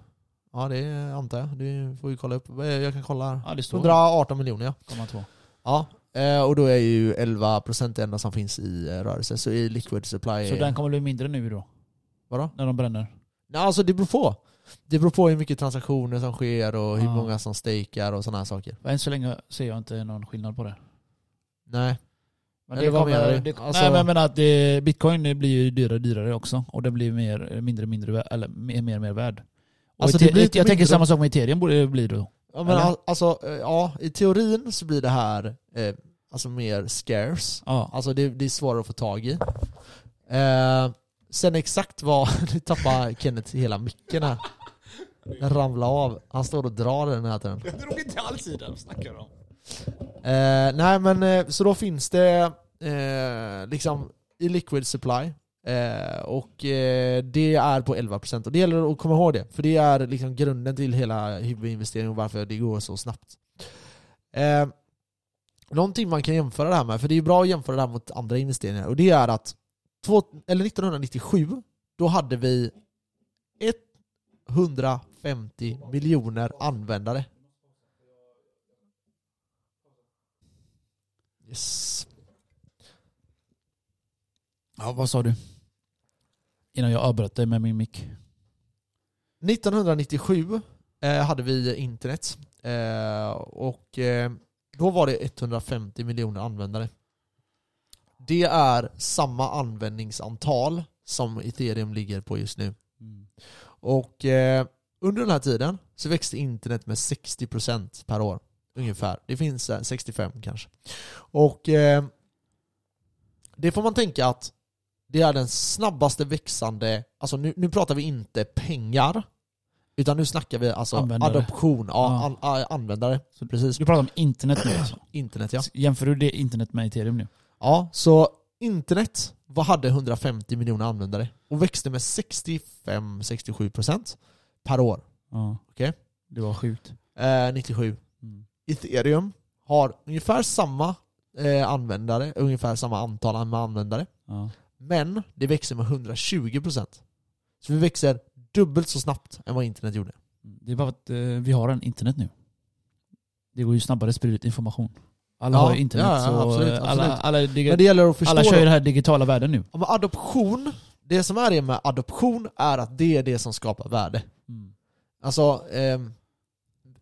Ja det är- antar jag. Du får ju kolla upp. Eh, Jag kan kolla här.
Ja, det står
118 miljoner ja.
1,2.
ja. eh, Och då är ju 11% det enda som finns i eh, rörelse. Så i liquid supply...
Så den kommer bli mindre nu då?
Vadå?
När de bränner?
Nej, alltså det beror på. Det beror på hur mycket transaktioner som sker och hur
Ja.
många som stakar och sådana här saker.
Än så länge ser jag inte någon skillnad på det.
Nej.
Men
Eller
det
vad menar
kommer,
du?
det,
Alltså-
Nej men jag menar att det, bitcoin blir ju dyrare och dyrare också. Och det blir mer, mindre mindre vä- eller mer mer, mer värd. Och
Alltså,
ete-
det blir inte
jag tänker
mindre.
samma sak med ethereum borde det bli då.
Ja, men
Eller?
al- alltså, eh, ja, i teorin så blir det här eh, alltså mer scarce.
Ja.
Alltså det, det är svårare att få tag i. Eh, sen exakt vad... Nu tappar Kenneth hela micken här. Den ramlar av. Han står och drar i den här tiden.
Jag drog inte alls i den, snackar om?
Eh, nej men eh, så då finns det eh, liksom i liquid supply eh, och eh, det är på 11% och det gäller att komma ihåg det för det är liksom grunden till hela huvudinvesteringen och varför det går så snabbt. Eh, någonting man kan jämföra det här med, för det är bra att jämföra det här mot andra investeringar och det är att två, eller 1997 då hade vi 150 miljoner användare. Yes.
Ja, vad sa du? Innan jag avbröt dig med min mick.
1997 eh, hade vi internet eh, och eh, då var det 150 miljoner användare. Det är samma användningsantal som ethereum ligger på just nu. Och eh, under den här tiden så växte internet med 60% per år. Ungefär. Det finns eh, 65 kanske. Och eh, det får man tänka att det är den snabbaste växande, alltså nu, nu pratar vi inte pengar, utan nu snackar vi alltså
Användare.
adoption, ja,
Ja.
an, a- användare.
Så-
Precis,
Du pratar om internet nu alltså.
internet ja.
Jämför du det internet med ethereum nu?
Ja, så internet vad hade 150 miljoner användare och växte med 65-67% per år.
Ja.
Okej.
Det var sjukt.
Eh, 97.
Mm.
Ethereum har ungefär samma eh, användare, ungefär samma antal med användare.
Ja.
Men det växer med 120%. Så vi växer dubbelt så snabbt än vad internet gjorde.
Det är bara att eh, vi har en internet nu. Det går ju snabbare att sprida ut information. Alla
Ja,
har ju internet
ja, ja,
så
absolut,
eh, alla,
absolut.
alla, är digi-
Men det gäller att förstå...
alla kör
då-
ju den här digitala världen nu.
Ja, men adoption, det som är det med adoption är att det är det som skapar värde.
Mm.
Alltså, ehm,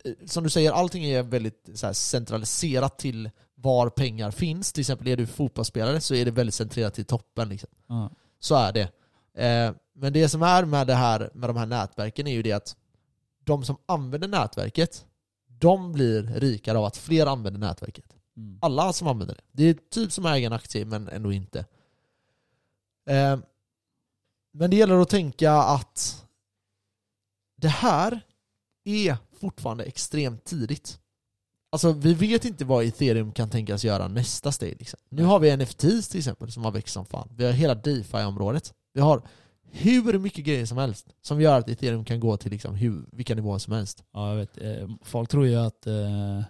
eh, som du säger, allting är väldigt så här, centraliserat till var pengar finns. Till exempel är du fotbollsspelare så är det väldigt centrerat till toppen. Liksom.
Ja.
Så är det. Eh, men det som är med, det här, med de här nätverken är ju det att de som använder nätverket, de blir rikare av att fler använder nätverket.
Mm.
Alla som använder det. Det är typ som äger en aktie men ändå inte. Eh, men det gäller att tänka att det här är fortfarande extremt tidigt. Alltså vi vet inte vad ethereum kan tänkas göra nästa steg. Liksom. Nu har vi NFTs till exempel som har växt som fan. Vi har hela DeFi-området. Vi har hur mycket grejer som helst som gör att ethereum kan gå till liksom hur, vilka nivåer som helst.
Ja, jag vet. Eh, Folk tror ju att... Eh,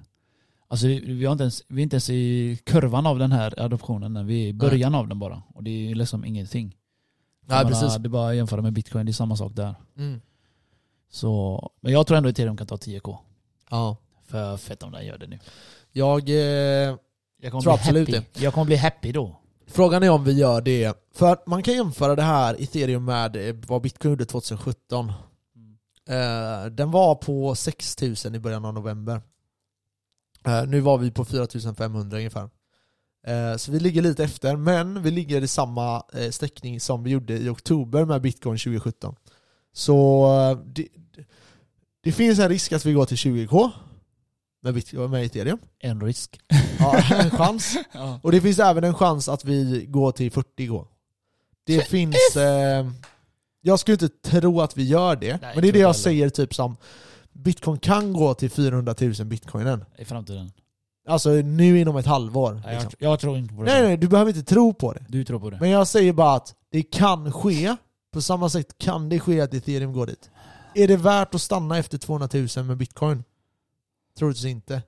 alltså, vi, har inte ens, vi är inte ens i kurvan av den här adoptionen. än. Vi är i början av den bara. Och det är ju liksom ingenting. Jag menar, Det är bara att jämföra med bitcoin, det är samma sak där.
Mm.
Så, men jag tror ändå att ethereum kan ta 10k.
Ja.
För fett om den gör det nu.
Jag... Eh,
Jag kommer
Tror
bli
absolut
happy. Jag kommer bli happy då.
Frågan är om vi gör det. För att man kan jämföra det här ethereum med eh, vad bitcoin gjorde 2017.
Mm.
Eh, den var på 6000 i början av november. Eh, nu var vi på 4500 ungefär. Eh, så vi ligger lite efter, men vi ligger i samma eh, sträckning som vi gjorde i oktober med bitcoin 2017. Så eh, det, det finns en risk att vi går till 20k med, bitcoin, med ethereum.
En risk.
Ja, en chans.
Ja.
Och det finns även en chans att vi går till 40K. Det finns... Eh, jag skulle inte tro att vi gör det. men det är
inte
det jag
heller.
säger typ som... Bitcoin kan gå till 400 000 bitcoinen.
I framtiden.
Alltså nu inom ett halvår.
Nej,
liksom.
jag, jag tror inte på det.
Nej, nej, du behöver inte tro på det.
Du tror på det.
Men jag säger bara att det kan ske. På samma sätt kan det ske att ethereum går dit. Är det värt att stanna efter 200 000 med bitcoin? Troligtvis inte.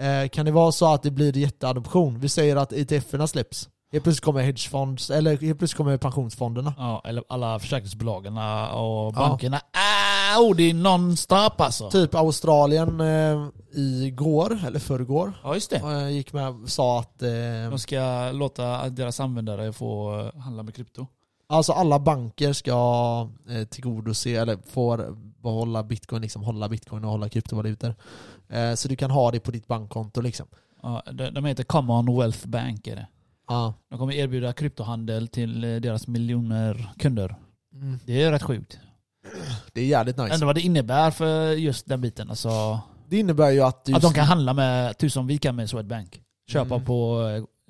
Eh, kan det vara så att det blir jätteadoption? Vi säger att ETFerna släpps. Helt plötsligt kommer hedgefonds, eller helt plötsligt kommer pensionsfonderna.
Ja, eller alla försäkringsbolagen och bankerna. Ah, oh, det är non-stop alltså.
Typ Australien eh, igår, eller förrgår,
Ja, just det.
eh, gick med sa att eh,
De ska låta deras användare få eh, handla med krypto.
Alltså alla banker ska eh, tillgodose, eller får behålla bitcoin, liksom hålla bitcoin och hålla kryptovalutor. Eh, så du kan ha det på ditt bankkonto liksom.
Ja, de de heter Commonwealth Bank. Är det.
Ja.
De kommer erbjuda kryptohandel till eh, deras miljoner kunder.
Mm.
Det är rätt sjukt.
Det är jävligt nice.
Ändå vad det innebär för just den biten. Alltså,
Det innebär ju att du...
att de kan handla med tusen vi kan med Swedbank. Köpa
Mm.
på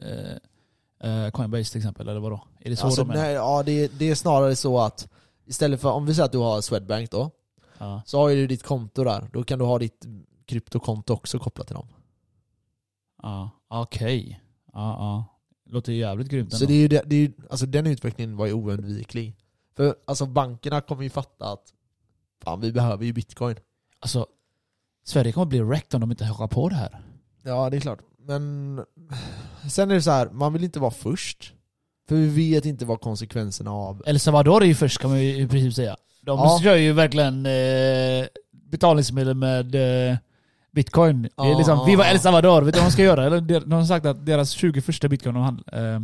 eh, eh, Coinbase till exempel, eller vadå? Är det så
alltså,
de är?
nej, ja, det, det är snarare så att istället för, om vi säger att du har Swedbank då,
Ja.
så har ju du ditt konto där. Då kan du ha ditt kryptokonto också kopplat till dem.
Ja, okej. Ja, ja. Låter ju jävligt grymt
Så
ändå.
det är ju, det, det är ju, alltså den utvecklingen var ju oundviklig. För alltså bankerna kommer ju fatta att fan vi behöver ju bitcoin.
Alltså, Sverige kommer bli wrecked om de inte hakar på det här.
Ja, det är klart. Men sen är det så här, man vill inte vara först. För vi vet inte vad konsekvenserna av...
El Salvador är ju först kan man ju i princip säga. De
Ja.
kör ju verkligen eh, betalningsmedel med eh, bitcoin. det
Ja,
är liksom,
ja,
Viva
ja.
El Salvador, vet du vad de ska göra? Eller de de har sagt att deras 20 första bitcoin de, hand, eh,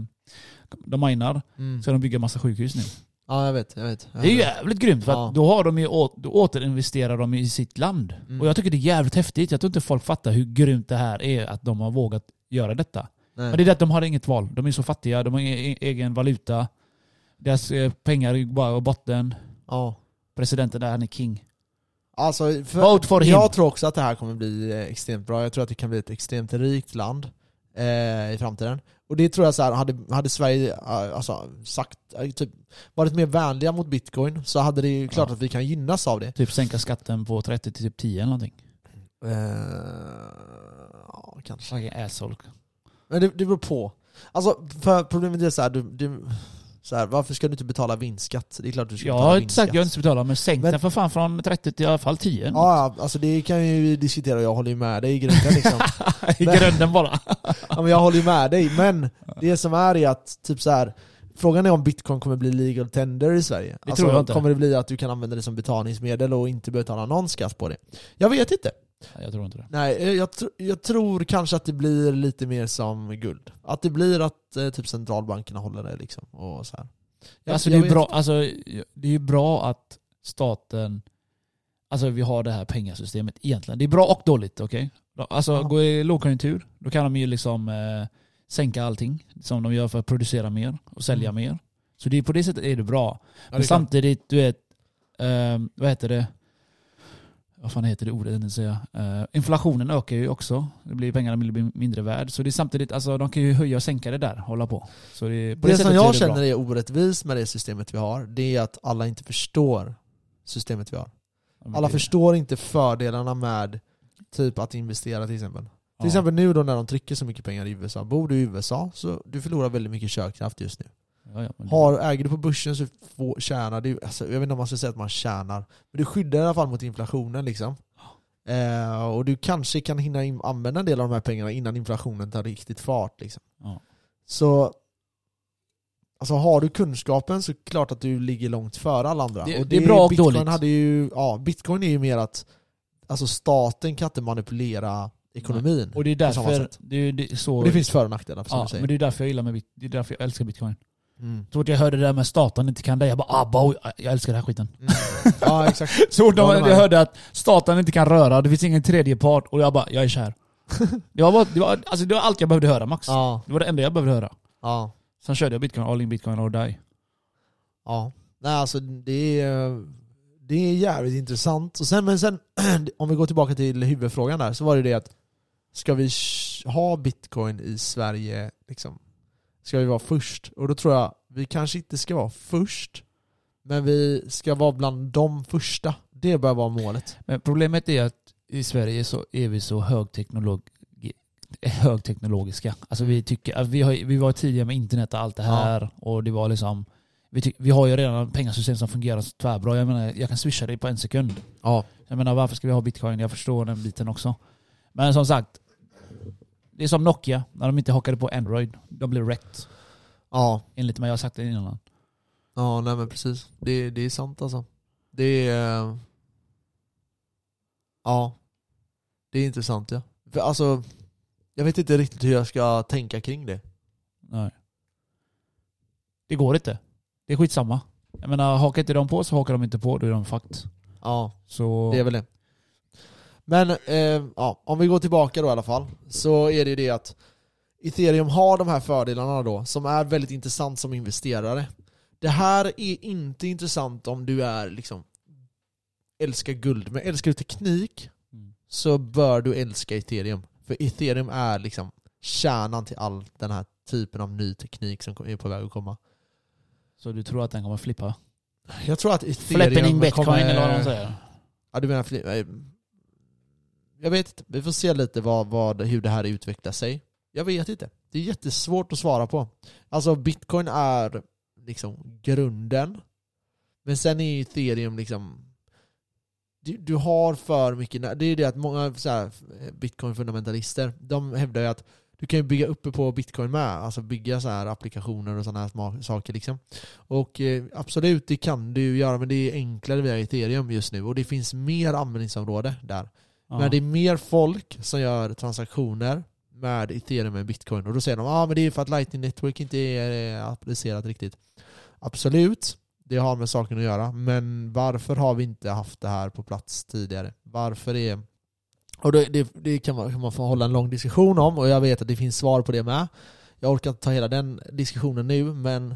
de minar,
Mm.
ska de bygga massa sjukhus nu.
Ja, jag vet. Jag vet. Jag
Det är ju
vet.
jävligt grymt för att
Ja.
då, har de ju å, då återinvesterar de i sitt land.
Mm.
Och jag tycker det är jävligt häftigt. Jag tror inte folk fattar hur grymt det här är att de har vågat göra detta.
Nej.
Men det är det att de har inget val. De är så fattiga, de har ingen e-, egen valuta. Deras eh, pengar är bara på botten.
Ja.
Presidenten där, han är king.
Alltså, för,
Vote for him!
jag tror också att det här kommer bli eh, extremt bra. Jag tror att det kan bli ett extremt rikt land eh, i framtiden. Och Och det tror jag så här, hade, hade Sverige eh, alltså, sagt, eh, typ, varit mer vänliga mot bitcoin så hade det ju klart
Ja.
att vi kan gynnas av det.
Typ sänka skatten på 30 till typ 10 eller någonting.
Eh, ja, kanske.
Fucking asshole.
Men det, det beror på. Alltså, för problemet är så här, du, du, så här, varför ska du inte betala vinstskatt? Det är klart du ska
Jag
betala
har inte
vinstskatt.
sagt jag inte ska betala, men sänk
Men-
den för fan från 30 till i alla fall 10.
Ja, ja, alltså det kan ju diskutera och jag håller ju med dig i grunden liksom.
I
men-
grädden bara.
ja, men jag håller ju med dig, men det som är är att typ så här, frågan är om bitcoin kommer bli legal tender i Sverige. Alltså,
Det tror jag inte.
Kommer det bli att du kan använda det som betalningsmedel och inte betala någon skatt på det? Jag vet inte.
Nej, Jag tror inte det.
Nej, eh, jag, tr- jag tror kanske att det blir lite mer som guld. Att det blir att eh, typ centralbankerna håller det liksom. Och så här. Jag-
Alltså, det,
jag
är
vet
ju bra, alltså, det är ju bra att staten... Alltså vi har det här pengasystemet egentligen. Det är bra och dåligt, okej? Alltså
Ja.
går i lågkonjunktur, då kan de ju liksom eh, sänka allting som de gör för att producera mer och sälja
Mm.
mer. Så det är på det sättet är det bra.
Ja,
Men
det är klart.
samtidigt, du vet, ehm, vad heter det? Vad fan heter det ordet? Jag tänkte säga. Eh, inflationen ökar ju också. Det blir pengarna blir mindre värd. Så det är samtidigt, alltså de kan ju höja och sänka det där, hålla på. Så det, är- på
det som
sättet så är
jag
det
känner
bra.
är orättvist med det systemet vi har, det är att alla inte förstår systemet vi har.
Ja, men
Alla
det-
förstår inte fördelarna med typ att investera till exempel. Till
ja.
exempel nu då när de trycker så mycket pengar i USA. Bor du i USA så du förlorar väldigt mycket köpkraft just nu.
Ja, ja, men det-
Har, äger du på börsen så får, tjänar du, alltså, jag vet inte om man ska säga att man tjänar, men du skyddar i alla fall mot inflationen liksom. Eh, och du kanske kan hinna in, använda en del av de här pengarna innan inflationen tar riktigt fart. Liksom.
Ja.
Så alltså, har du kunskapen så är det klart att du ligger långt före alla andra.
Det- det är bra och
Bitcoin
dåligt.
Hade ju, ja, Bitcoin är ju mer att alltså, staten kan inte manipulera ekonomin.
Och det är
på samma
därför...
sätt.
Det, är- det, är så,
Och det finns för och nackdelar, som
ja,
du
men
säger.
det är därför jag gillar med, bit- det är därför jag älskar bitcoin.
Mm.
Så fort jag hörde det där med staten inte kan det, jag bara ah, boy, jag älskar den här skiten.
Mm. ja, exakt.
Så fort de,
Ja, det var
jag
det.
hörde att staten inte kan röra, det finns ingen tredje part och jag bara, jag är kär. Det var, bara, det, var, alltså, det var allt jag behövde höra Max.
Ja,
Det var det enda jag behövde höra.
ja.
Sen körde jag bitcoin, all in bitcoin or die.
Ja, nej alltså det är, det är jävligt intressant. Och sen, men sen, om vi går tillbaka till huvudfrågan där, så var det det att ska vi sh- ha bitcoin i Sverige, liksom, ska vi vara först? Och då tror jag, vi kanske inte ska vara först, men vi ska vara bland de första. Det bör vara målet.
Men problemet är att i Sverige så är vi så högteknolog högteknologiska. Alltså vi, tycker, att vi, har, vi var tidiga med internet och allt det här. Och det var liksom, vi, tyck, vi har ju redan pengasystem som fungerar så tvärbra. Jag menar, jag kan swisha dig på en sekund.
Ja.
Jag menar varför ska vi ha bitcoin? Jag förstår den biten också. Men som sagt, det är som Nokia när de inte hakade på Android. De blev rätt.
Ja,
Enligt mig, jag har sagt det innan.
ja nej men precis. Det, det är sant alltså. Det är... eh, Ja. Det är intressant ja. För alltså, jag vet inte riktigt hur jag ska tänka kring det.
Nej. Det går inte. Det är skitsamma. Jag menar, hakar inte de på så hakar de inte på. Då är de fucked.
Ja,
Så...
det är väl det. Men eh, ja, om vi går tillbaka då i alla fall. Så är det ju det att Ethereum har de här fördelarna då, som är väldigt intressant som investerare. Det här är inte intressant om du är liksom älskar guld, men älskar du teknik
Mm.
så bör du älska ethereum. För ethereum är liksom kärnan till all den här typen av ny teknik som är på väg att komma.
Så du tror att den kommer flippa?
Jag tror att ethereum
Flipping bitcoin
kommer...
eller vad de säger.
Ja du menar fli- eh, Jag vet inte, vi får se lite vad, vad, hur det här utvecklar sig. Jag vet inte. Det är jättesvårt att svara på. Alltså bitcoin är liksom grunden. Men sen är ethereum liksom du, du har för mycket, nä- det är ju det att många så här, eh, bitcoin-fundamentalister, de hävdar ju att du kan ju bygga uppe på bitcoin med, alltså bygga så här applikationer och sådana här sma- saker liksom. Och eh, absolut, det kan du göra, men det är enklare via ethereum just nu och det finns mer användningsområde där.
Ja.
Men det är mer folk som gör transaktioner med ethereum än bitcoin och då säger de ah, men det är för att lightning network inte är eh, applicerat riktigt. Absolut, det har med saken att göra, men varför har vi inte haft det här på plats tidigare? Varför är... Och det, det, det kan, man, kan man få hålla en lång diskussion om och jag vet att det finns svar på det med. Jag orkar inte ta hela den diskussionen nu, men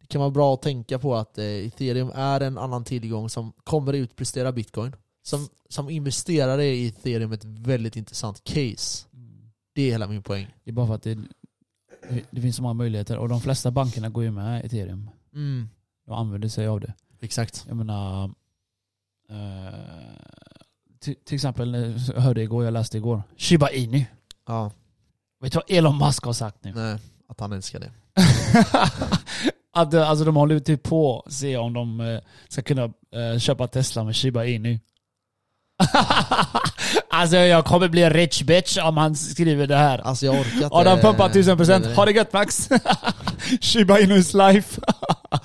det kan vara bra att tänka på att eh, ethereum är en annan tillgång som kommer utprestera bitcoin. Som, som investerare är ethereum ett väldigt intressant case.
Mm.
Det är hela min poäng.
det är bara för att det, Det finns så många möjligheter. Och de flesta bankerna går ju med ethereum.
Mm.
De använder sig av det.
Exakt.
Jag menar... Eh, till, till exempel, jag hörde igår, jag läste igår. Shiba Inu.
Ja,
Vet du vad Elon Musk har sagt nu?
nej. Att han älskar det.
att, eh, alltså de håller ju typ på att se om de eh, ska kunna eh, köpa Tesla med Shiba Inu. alltså jag kommer bli rich bitch om han skriver det här.
Alltså jag orkar inte...
Adam pumpar 1000%.
Nej,
Ha eh, det gött Max! Shiba Inus life.
nej.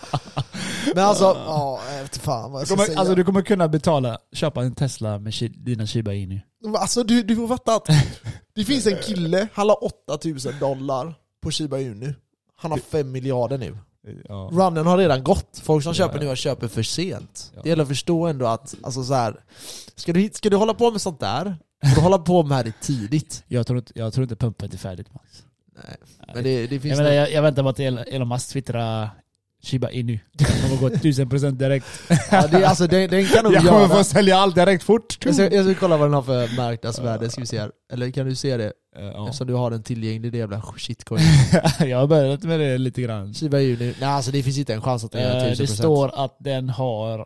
Men alltså, ja, jag vet fan vad jag
Du
ska
kommer,
säga.
alltså du kommer kunna betala, köpa en Tesla med shi- dina Shiba Inu.
Alltså du, du får fatta att det finns en kille, han la 8000 dollar på Shiba Inu. Han har 5 miljarder nu.
Ja.
Runnen har redan gått. Folk som
Ja,
köper
ja.
nu har köper för sent.
Ja.
Det gäller att förstå ändå att, alltså så här, ska, du, ska du hålla på med sånt där, får du hålla på med det tidigt.
Jag, tror inte, jag tror inte pumpet är färdigt Max.
Nej, men det, det
Jag,
finns
menar,
nog-
jag, jag väntar bara till Elon Musk twittrar Shiba Inu. Det kommer gå 1000% direkt.
ja, det, alltså, det, den kan nog
Jag kommer få
göra.
sälja allt direkt fort.
Jag ska, jag ska kolla vad den har för marknadsvärde, ska vi se här. Eller kan du se det?
Eh, ja.
Eftersom du har den tillgänglig, det jävla shitcoin.
jag har börjat med det lite grann.
Shiba Inu, nej alltså det finns inte en chans att den gör
Eh,
1000%.
Det står att den har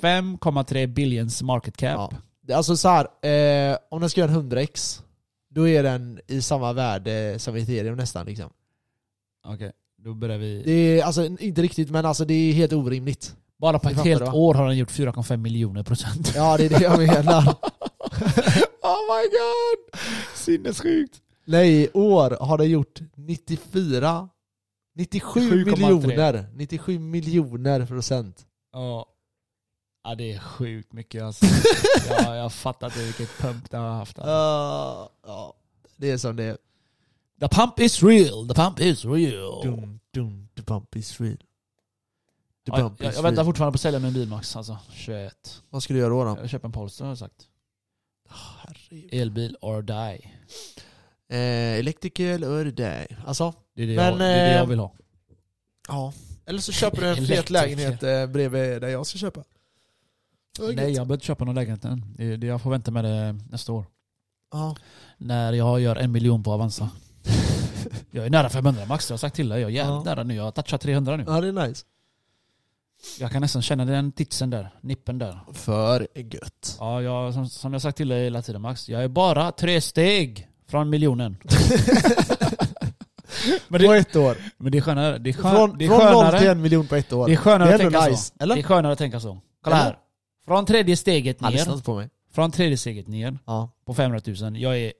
35,3 billions market cap.
Ja. Det- Alltså så här, eh, om den ska göra en 100x, då är den i samma värde som ethereum nästan. Liksom.
Okej, då börjar vi.
Det är alltså inte riktigt, men alltså det är helt orimligt.
Bara på
Det
ett
fattar
helt
du, va?
år har den gjort 4,5 miljoner procent.
Ja, det är det jag menar.
oh my god! Sinnessjukt.
Nej, i år har den gjort 94, 97
7,3.
miljoner. 97 miljoner procent.
Ja. ja, det är sjukt mycket alltså. ja, jag fattar inte vilket pump den har haft. alltså.
Ja, ja, det är som det är.
The pump is real, the pump is real.
Dum, dum, the bump is real. The
Ja,
bump
jag,
is real.
jag väntar fortfarande på att sälja min bil Max. Alltså, shit.
Vad ska du göra då? då?
Jag köper en Polestar har jag sagt.
Herregud.
Elbil or die.
Eh, electrical or die. Alltså,
Det är det,
Men,
jag, det, är det jag
eh,
vill ha.
Ja. Eller så köper du en fet
Elektriker.
lägenhet eh, bredvid där jag ska köpa. Det är
Nej,
gött.
jag behöver inte köpa någon lägenhet än. Det, är- det, jag får vänta med det nästa år.
Ja.
När jag gör en miljon på Avanza. jag är nära 500 max, jag har sagt till dig. Jag är jävligt
Ja.
nära nu. Jag har touchat 300 nu.
ja, det är nice.
Jag kan nästan känna den titsen där, nippen där.
För gött.
Ja, jag, som, som jag sagt till dig hela tiden Max, jag är bara tre steg från miljonen. men,
På
det,
ett år.
men det är skönare. Det är, skön,
Från,
det är
från noll till
skönare,
en miljon på ett år.
det är skönare
Det är
att
ändå
tänka
nice,
så.
eller?
Det är skönare att tänka så. Kolla
Eller?
här. Från tredje steget
Han lyssnar
ner,
inte på mig.
från tredje steget ner
Ja.
på 500 000. Jag är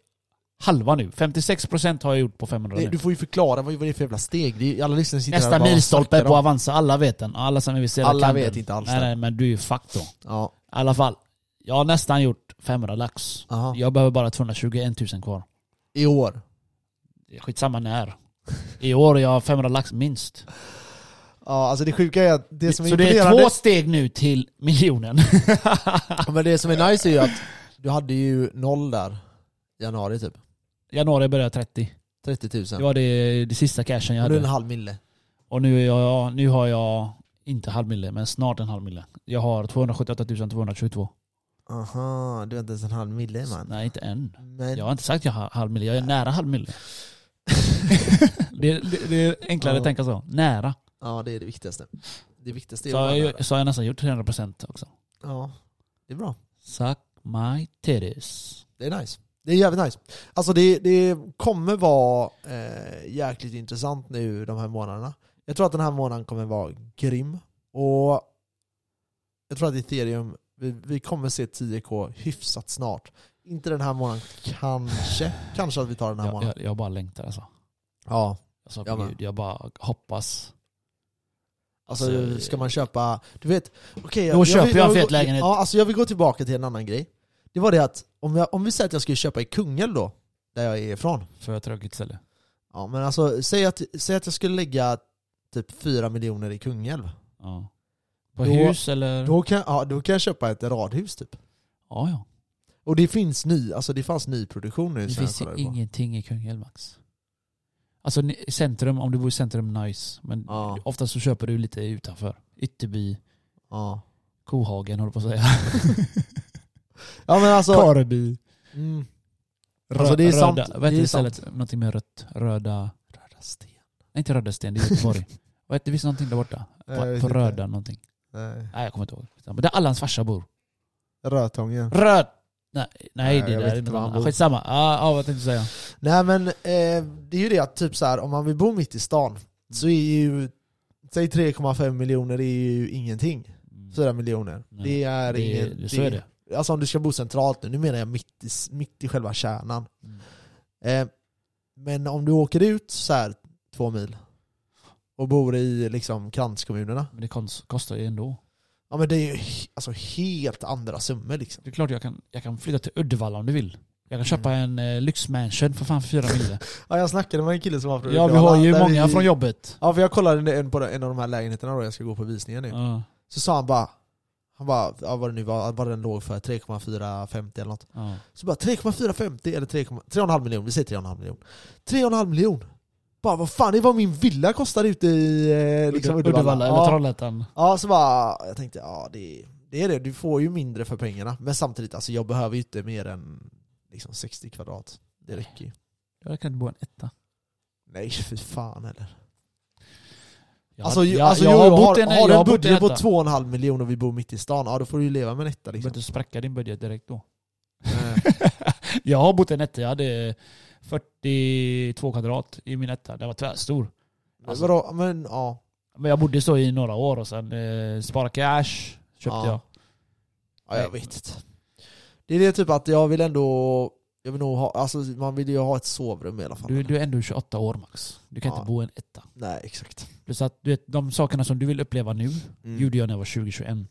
halva nu. 56% har jag gjort på 500
Det,
nu.
du får ju förklara vad det är för jävla steg. Det är, alla lyssnare sitter här
Nästa
och bara
milstolpe
snackar
på
om-
Avanza, alla vet den. Alla som är intresserade
Alla
kan
vet
den.
inte alls
Nej,
den.
nej, men du är ju fuck då.
Ja.
I alla fall, jag har nästan gjort 500 lax.
Aha.
Jag behöver bara 221 000 kvar.
I år.
Skitsamma när. I år har jag 500 lax minst.
Ja, alltså det sjuka är att det som är
Så det är
imponerande...
två steg nu till miljonen.
Ja, Men det som är nice är ju att du hade ju noll där. i Januari typ.
Januari började jag 30.
30 000.
Det var det, det sista cashen jag
Nu är det en
hade.
halv mille.
Och nu, är jag, nu har jag, inte halv mille, men snart en halv mille. Jag har 278 222.
Aha, du är inte ens en halv mille
Nej, inte än.
Men...
Jag har inte sagt jag har halv mille, jag är nära halv mille. det, det, det är enklare
Ja.
att tänka så. Nära.
Ja, det är det viktigaste. Det viktigaste är
Så
att
har
vara
jag,
nära.
så har jag nästan gjort 300% också.
Ja, det är bra.
Suck my titties.
Det är nice. Det är jävligt nice. Alltså det, det kommer vara eh, jäkligt intressant nu de här månaderna. Jag tror att den här månaden kommer vara grym. Och jag tror att ethereum, vi, vi kommer se 10k hyfsat snart. Inte den här månaden, kanske. Kanske att vi tar den här
Jag,
månaden.
jag, jag bara längtar alltså.
Ja.
alltså
Jag med.
jag, jag bara hoppas.
Alltså ska man köpa, du vet, okej.
Då köper jag en
vill
fet
gå-
lägenhet.
Ja, alltså jag vill gå tillbaka till en annan grej. Det var det att, om, jag, om vi säger att jag skulle köpa i Kungälv då, där jag är ifrån.
För tråkigt ställe.
Ja men alltså, säg att, säg att jag skulle lägga typ 4 miljoner i Kungälv.
Mm. Ja. På
Då-
hus eller?
Då kan, ja, då kan jag köpa ett radhus typ.
ja, ja.
Och det finns ny, alltså det fanns nyproduktion nu.
Det
som jag
finns ju
kollade på.
ingenting i Kungälv Max. Alltså ni- centrum, om du bor i centrum, nice. Men
Ja.
oftast så köper du lite utanför. Ytterby,
Ja.
Kohagen håller på att säga.
ja men alltså,
Kareby.
mm,
Rö-
Alltså, det är sant.
röda.
Det
Vad
är
heter det istället? Någonting med rött. Röda. Röda.
Röda sten.
Nej, inte Rödasten, det är Göteborg. Vad hette- det finns någonting där borta. På,
Nej, jag vet
på
inte.
Röda någonting.
Nej.
Nej, jag kommer inte ihåg. Men där alla hans farsa bor.
Rödtången.
Röd! Nej, nej,
Nej,
det
jag
där
vet
är
inte
något
var han
annat.
bor.
Skitsamma. Ja, ja, vad tänkte du säga?
Nej men eh, det är ju det att typ så här, om man vill bo mitt i stan så är ju, säg 3,5 miljoner är ju ingenting. 4 miljoner.
Nej,
det är
det,
ingenting.
det, så är det.
Alltså om du ska bo centralt nu, nu menar jag mitt i, mitt i själva kärnan.
Mm.
Eh, men om du åker ut så här två mil och bor i liksom kranskommunerna.
Men det konst- kostar ju ändå.
Ja men det är ju he- alltså helt andra summor liksom.
Det är klart jag kan, jag kan flytta till Uddevalla om du vill. Jag kan köpa en eh, lyxmansion för fan fyra miljoner.
Ja jag snackade med en kille som var från
ja, vi
Uddevalla,
har ju
där
många
vi-
från jobbet.
Ja för jag kollade en på en av de här lägenheterna då, jag ska gå på visningen nu.
Ja,
Så sa han bara, han bara, ja, vad det nu var, vad den låg för, 3,450 eller något.
ja.
Så bara 3,450 eller 3,- 3,5 miljon, vi säger 3,5 miljon. 3,5 miljon! Bara vad fan, det är vad min villa kostar ute i eh, liksom, Uddevalla.
eller
ja.
Trollhättan.
ja, så bara, jag tänkte, ja det, det är det, du får ju mindre för pengarna. Men samtidigt, alltså jag behöver ju inte mer än liksom 60 kvadrat. Det räcker ju.
Jag kan inte bo i en etta.
Nej fy fan heller.
Jag,
Alltså,
hade-
ju-
jag,
alltså,
jag
jo,
har
har,
bott i en,
har
jag
du en
har bott i
budget
en
på
etta.
2,5 miljoner och vi bor mitt i stan, ja då får du ju leva med en etta liksom.
Du
Eh,
behöver inte spräcka din budget direkt då.
Nej.
Jag har bott i en etta. Jag hade 42 kvadrat i min etta. Den var tvärstor.
Men
Alltså-
vadå, men ja.
Men jag bodde så i några år och sen eh, sparade cash. Köpte
Ja.
jag.
ja jag vet inte. Det är det typ att jag vill ändå, jag vill nog ha, alltså man vill ju ha ett sovrum i alla fall.
Du, du är ändå 28 år max. Du kan
Ja.
inte bo i en etta.
Nej exakt.
Plus att du vet, de sakerna som du vill uppleva nu
Mm.
gjorde jag när jag var 20-21.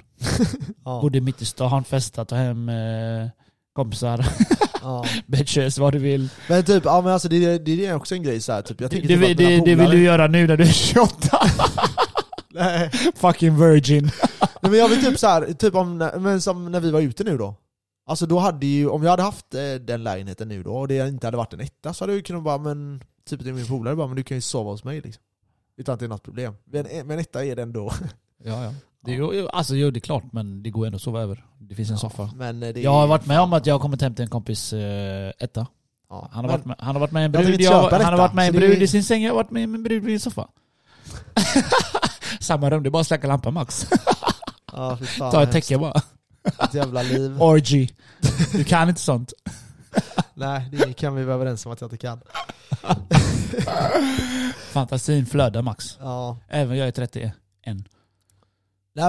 ja.
Bodde mitt i stan, festat, ta hem eh, kompisar,
ja.
bitches, vad du vill.
Men typ, ja men alltså det, är- det är också en grej så här, typ. Jag
Det,
tänker
det,
typ att mina
det, det vill
polare-
du göra nu när du är 28.
Nej.
Fucking virgin.
Nej, men jag vill typ så här, typ om, men som när vi var ute nu då. Alltså då hade ju, om jag hade haft eh, den lägenheten nu då och det inte hade varit en etta så hade jag ju kunnat bara, men typ till min polare bara, men du kan ju sova hos mig liksom. Utan att det är något problem. Men en men etta är det ändå.
Ja, ja. Det, är ju- alltså, jo, det är klart, men det går ändå att sova över. Det finns en soffa.
Men eh, det
Jag har
är-
varit med om att jag har kommit hem till en kompis eh, etta.
Ja.
Han har,
Men-
varit med, han har varit med en
Jag
brud,
tänkte
jag,
köpa
han har
detta,
varit med en
så det är-
brud i sin säng, jag har varit med en brud i min soffa. Samma rum, det är bara att släcka lampan max.
Ja, fy fan,
Ta ett
hemskt.
täcke bara.
Ett jävla liv.
Orgy. Du kan inte sånt.
Nej, det kan vi vara överens om att jag inte kan.
Fantasin flödar max.
Ja.
Även jag är 31.
Nej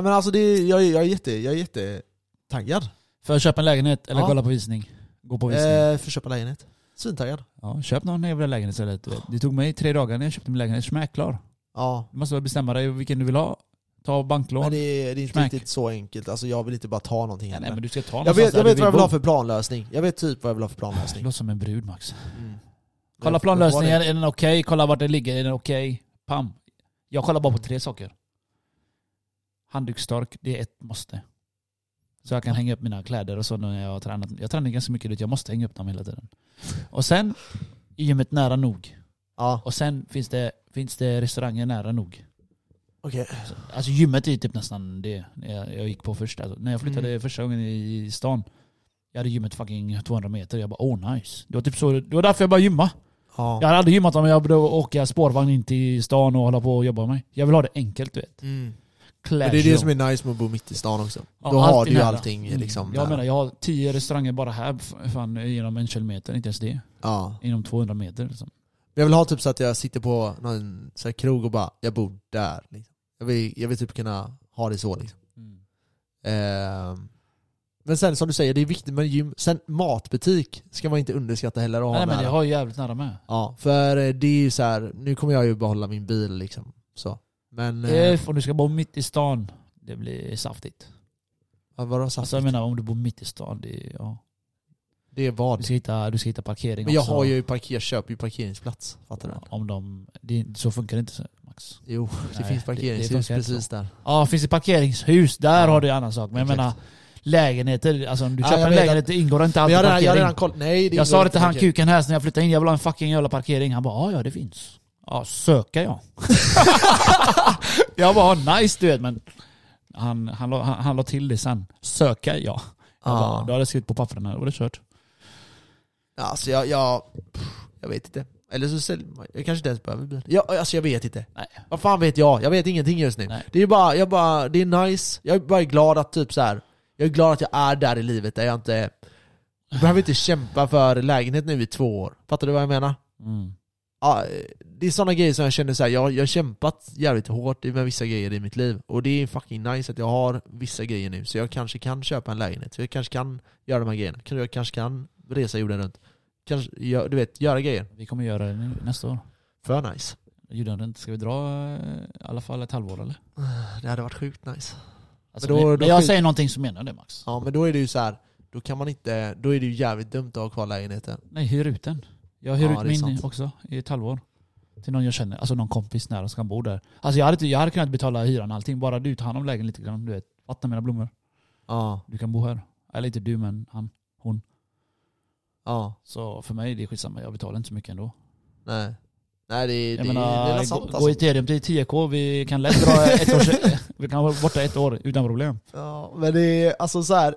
men alltså, det är, jag, är- jag är jätte, jag är jättetaggad.
Får jag köpa en lägenhet eller
Ja.
kolla på visning? Gå på visning.
Eh, för att köpa lägenhet. Svintaggad.
Ja, köp någon jävla lägenhet istället. du vet. Det tog mig tre dagar när jag köpte min lägenhet. Smäck klar.
Ja.
Du måste väl bestämma dig vilken du vill ha. Ta
Men
banklån.
det är, det är inte
Smack.
riktigt så enkelt. Alltså jag vill inte bara ta någonting
Nej,
heller.
nej, men du ska ta
jag
någonstans
vet,
där
jag
du
vet vad jag vill
bo.
ha för planlösning. Jag vet typ vad jag vill ha för
Det
planlösning.
låter som en brud Max.
Mm.
Kolla
Jag-
planlösningen,
jag
är den okej? Kolla vart den ligger, är den okej? Pam. Jag kollar bara på tre saker. Handduksstork, det är ett måste. Så jag kan hänga upp mina kläder och så när jag har tränat. Jag tränar ganska mycket dit, jag måste hänga upp dem hela tiden. Och sen, i gymmet nära nog.
Ja,
Och sen finns det, finns det restauranger nära nog.
okej.
Alltså gymmet är typ nästan det jag, jag gick på först. Alltså, när jag flyttade första gången i stan, jag hade gymmet fucking 200 meter. Jag bara oh nice. Det var typ så, det var därför jag började gymma. Jag
Ja.
hade aldrig gymmat om jag behövde åka spårvagn in till stan och hålla på och jobba med mig. Jag vill ha det enkelt du vet.
Mm. Men
Casual.
det är det som är nice med att bo mitt i stan också.
Ja,
Då
allt
har
är
du ju
nära.
allting
Mm.
liksom.
Jag
där.
menar jag har tio restauranger bara här f- fan, genom en kilometer, inte ens det.
ja.
Inom 200 meter liksom.
Jag vill ha typ så att jag sitter på någon så här krog och bara, jag bor där. Liksom. Jag, vill, jag vill typ kunna ha det så liksom. Ehm, men sen som du säger, det är viktigt med gym. Sen matbutik ska man inte underskatta heller att ha
Nej men
nära.
jag har ju jävligt nära med.
Ja, för eh, det är ju så här, nu kommer jag ju behålla min bil liksom. Så. Men eh,
If, om du ska bo mitt i stan, det blir saftigt.
vad var det jag sa?
Alltså jag menar om du bor mitt i stan, det är, ja.
det är
Du
vad.
ska hitta, du ska hitta parkering
Men jag
också.
har ju parker, köper ju parkeringsplats. Fattar du?
Om de, det, så funkar det inte så, Max.
Jo, det
Nej,
finns
det- det
parkeringshus
funkar inte
precis där.
Ja, finns det parkeringshus, där
Ja.
har du en annan sak. Men jag
Exakt.
menar lägenheter, alltså om du
Ja,
köper
jag
en
vet
lägenhet, det ingår inte
Men
alltid
jag har redan, jag har
parkering.
redan kollat, nej det
Jag
ingår
sa det till
inte
han
parkering.
kuken här när jag flyttade in, jag vill ha en fucking jävla parkering. Han bara "Ja, ja det finns. Ja, söka jag. jag bara "Ja, nice du vet men han, han, la- han, han la till det sen. Söka ja. Jag bara,
Ja.
du hade jag skrivit på papperna, då var det kört.
Alltså jag, jag, pff, jag vet inte. Eller så säljer man, jag kanske inte ens behöver bilen. Jag, alltså jag vet inte.
Nej.
Vad fan vet jag? Jag vet ingenting just nu.
Nej.
Det är ju bara, jag bara, det är nice. Jag är bara glad att typ så här. jag är glad att jag är där i livet där jag inte jag behöver inte kämpa för lägenhet nu i två år. Fattar du vad jag menar?
Mm.
Ja, det är sådana grejer som jag känner så här, jag, jag har kämpat jävligt hårt med vissa grejer i mitt liv. Och det är fucking nice att jag har vissa grejer nu. Så jag kanske kan köpa en lägenhet. Så jag kanske kan göra de här grejerna. Kan- Jag kanske kan resa jorden runt. Kanske, gö- du vet, göra grejer.
Vi kommer göra det nu, nästa år.
För nice.
Jorden runt. Ska vi dra eh, i alla fall ett halvår eller?
Det hade varit sjukt nice.
Alltså,
Men då-
när-
då
när jag
finns-
säger någonting så menar jag det Max.
Ja men då är det ju så här. då kan man inte, då är det ju jävligt dumt att ha kvar lägenheten.
Nej, hyr ut den. Jag hyr
Ja, det
ut
är
min
sant.
också i ett halvår. Till någon jag känner, alltså någon kompis nära som kan bo där. Alltså jag hade, inte- jag hade kunnat betala hyran och allting, bara du tar hand om lägenheten lite grann. Du vet, vattna mina blommor.
Ja,
Du kan bo här. Eller inte du men han.
ja,
Så för mig det är skitsamma, jag betalar inte så mycket ändå.
nej. Nej det, är- det,
Jag
är- det är
menar,
väl sant
gå- gå
alltså.
ethereum till 10k, vi kan lätt dra ett år, vi kan vara borta ett år utan problem.
Ja, men det är alltså så här.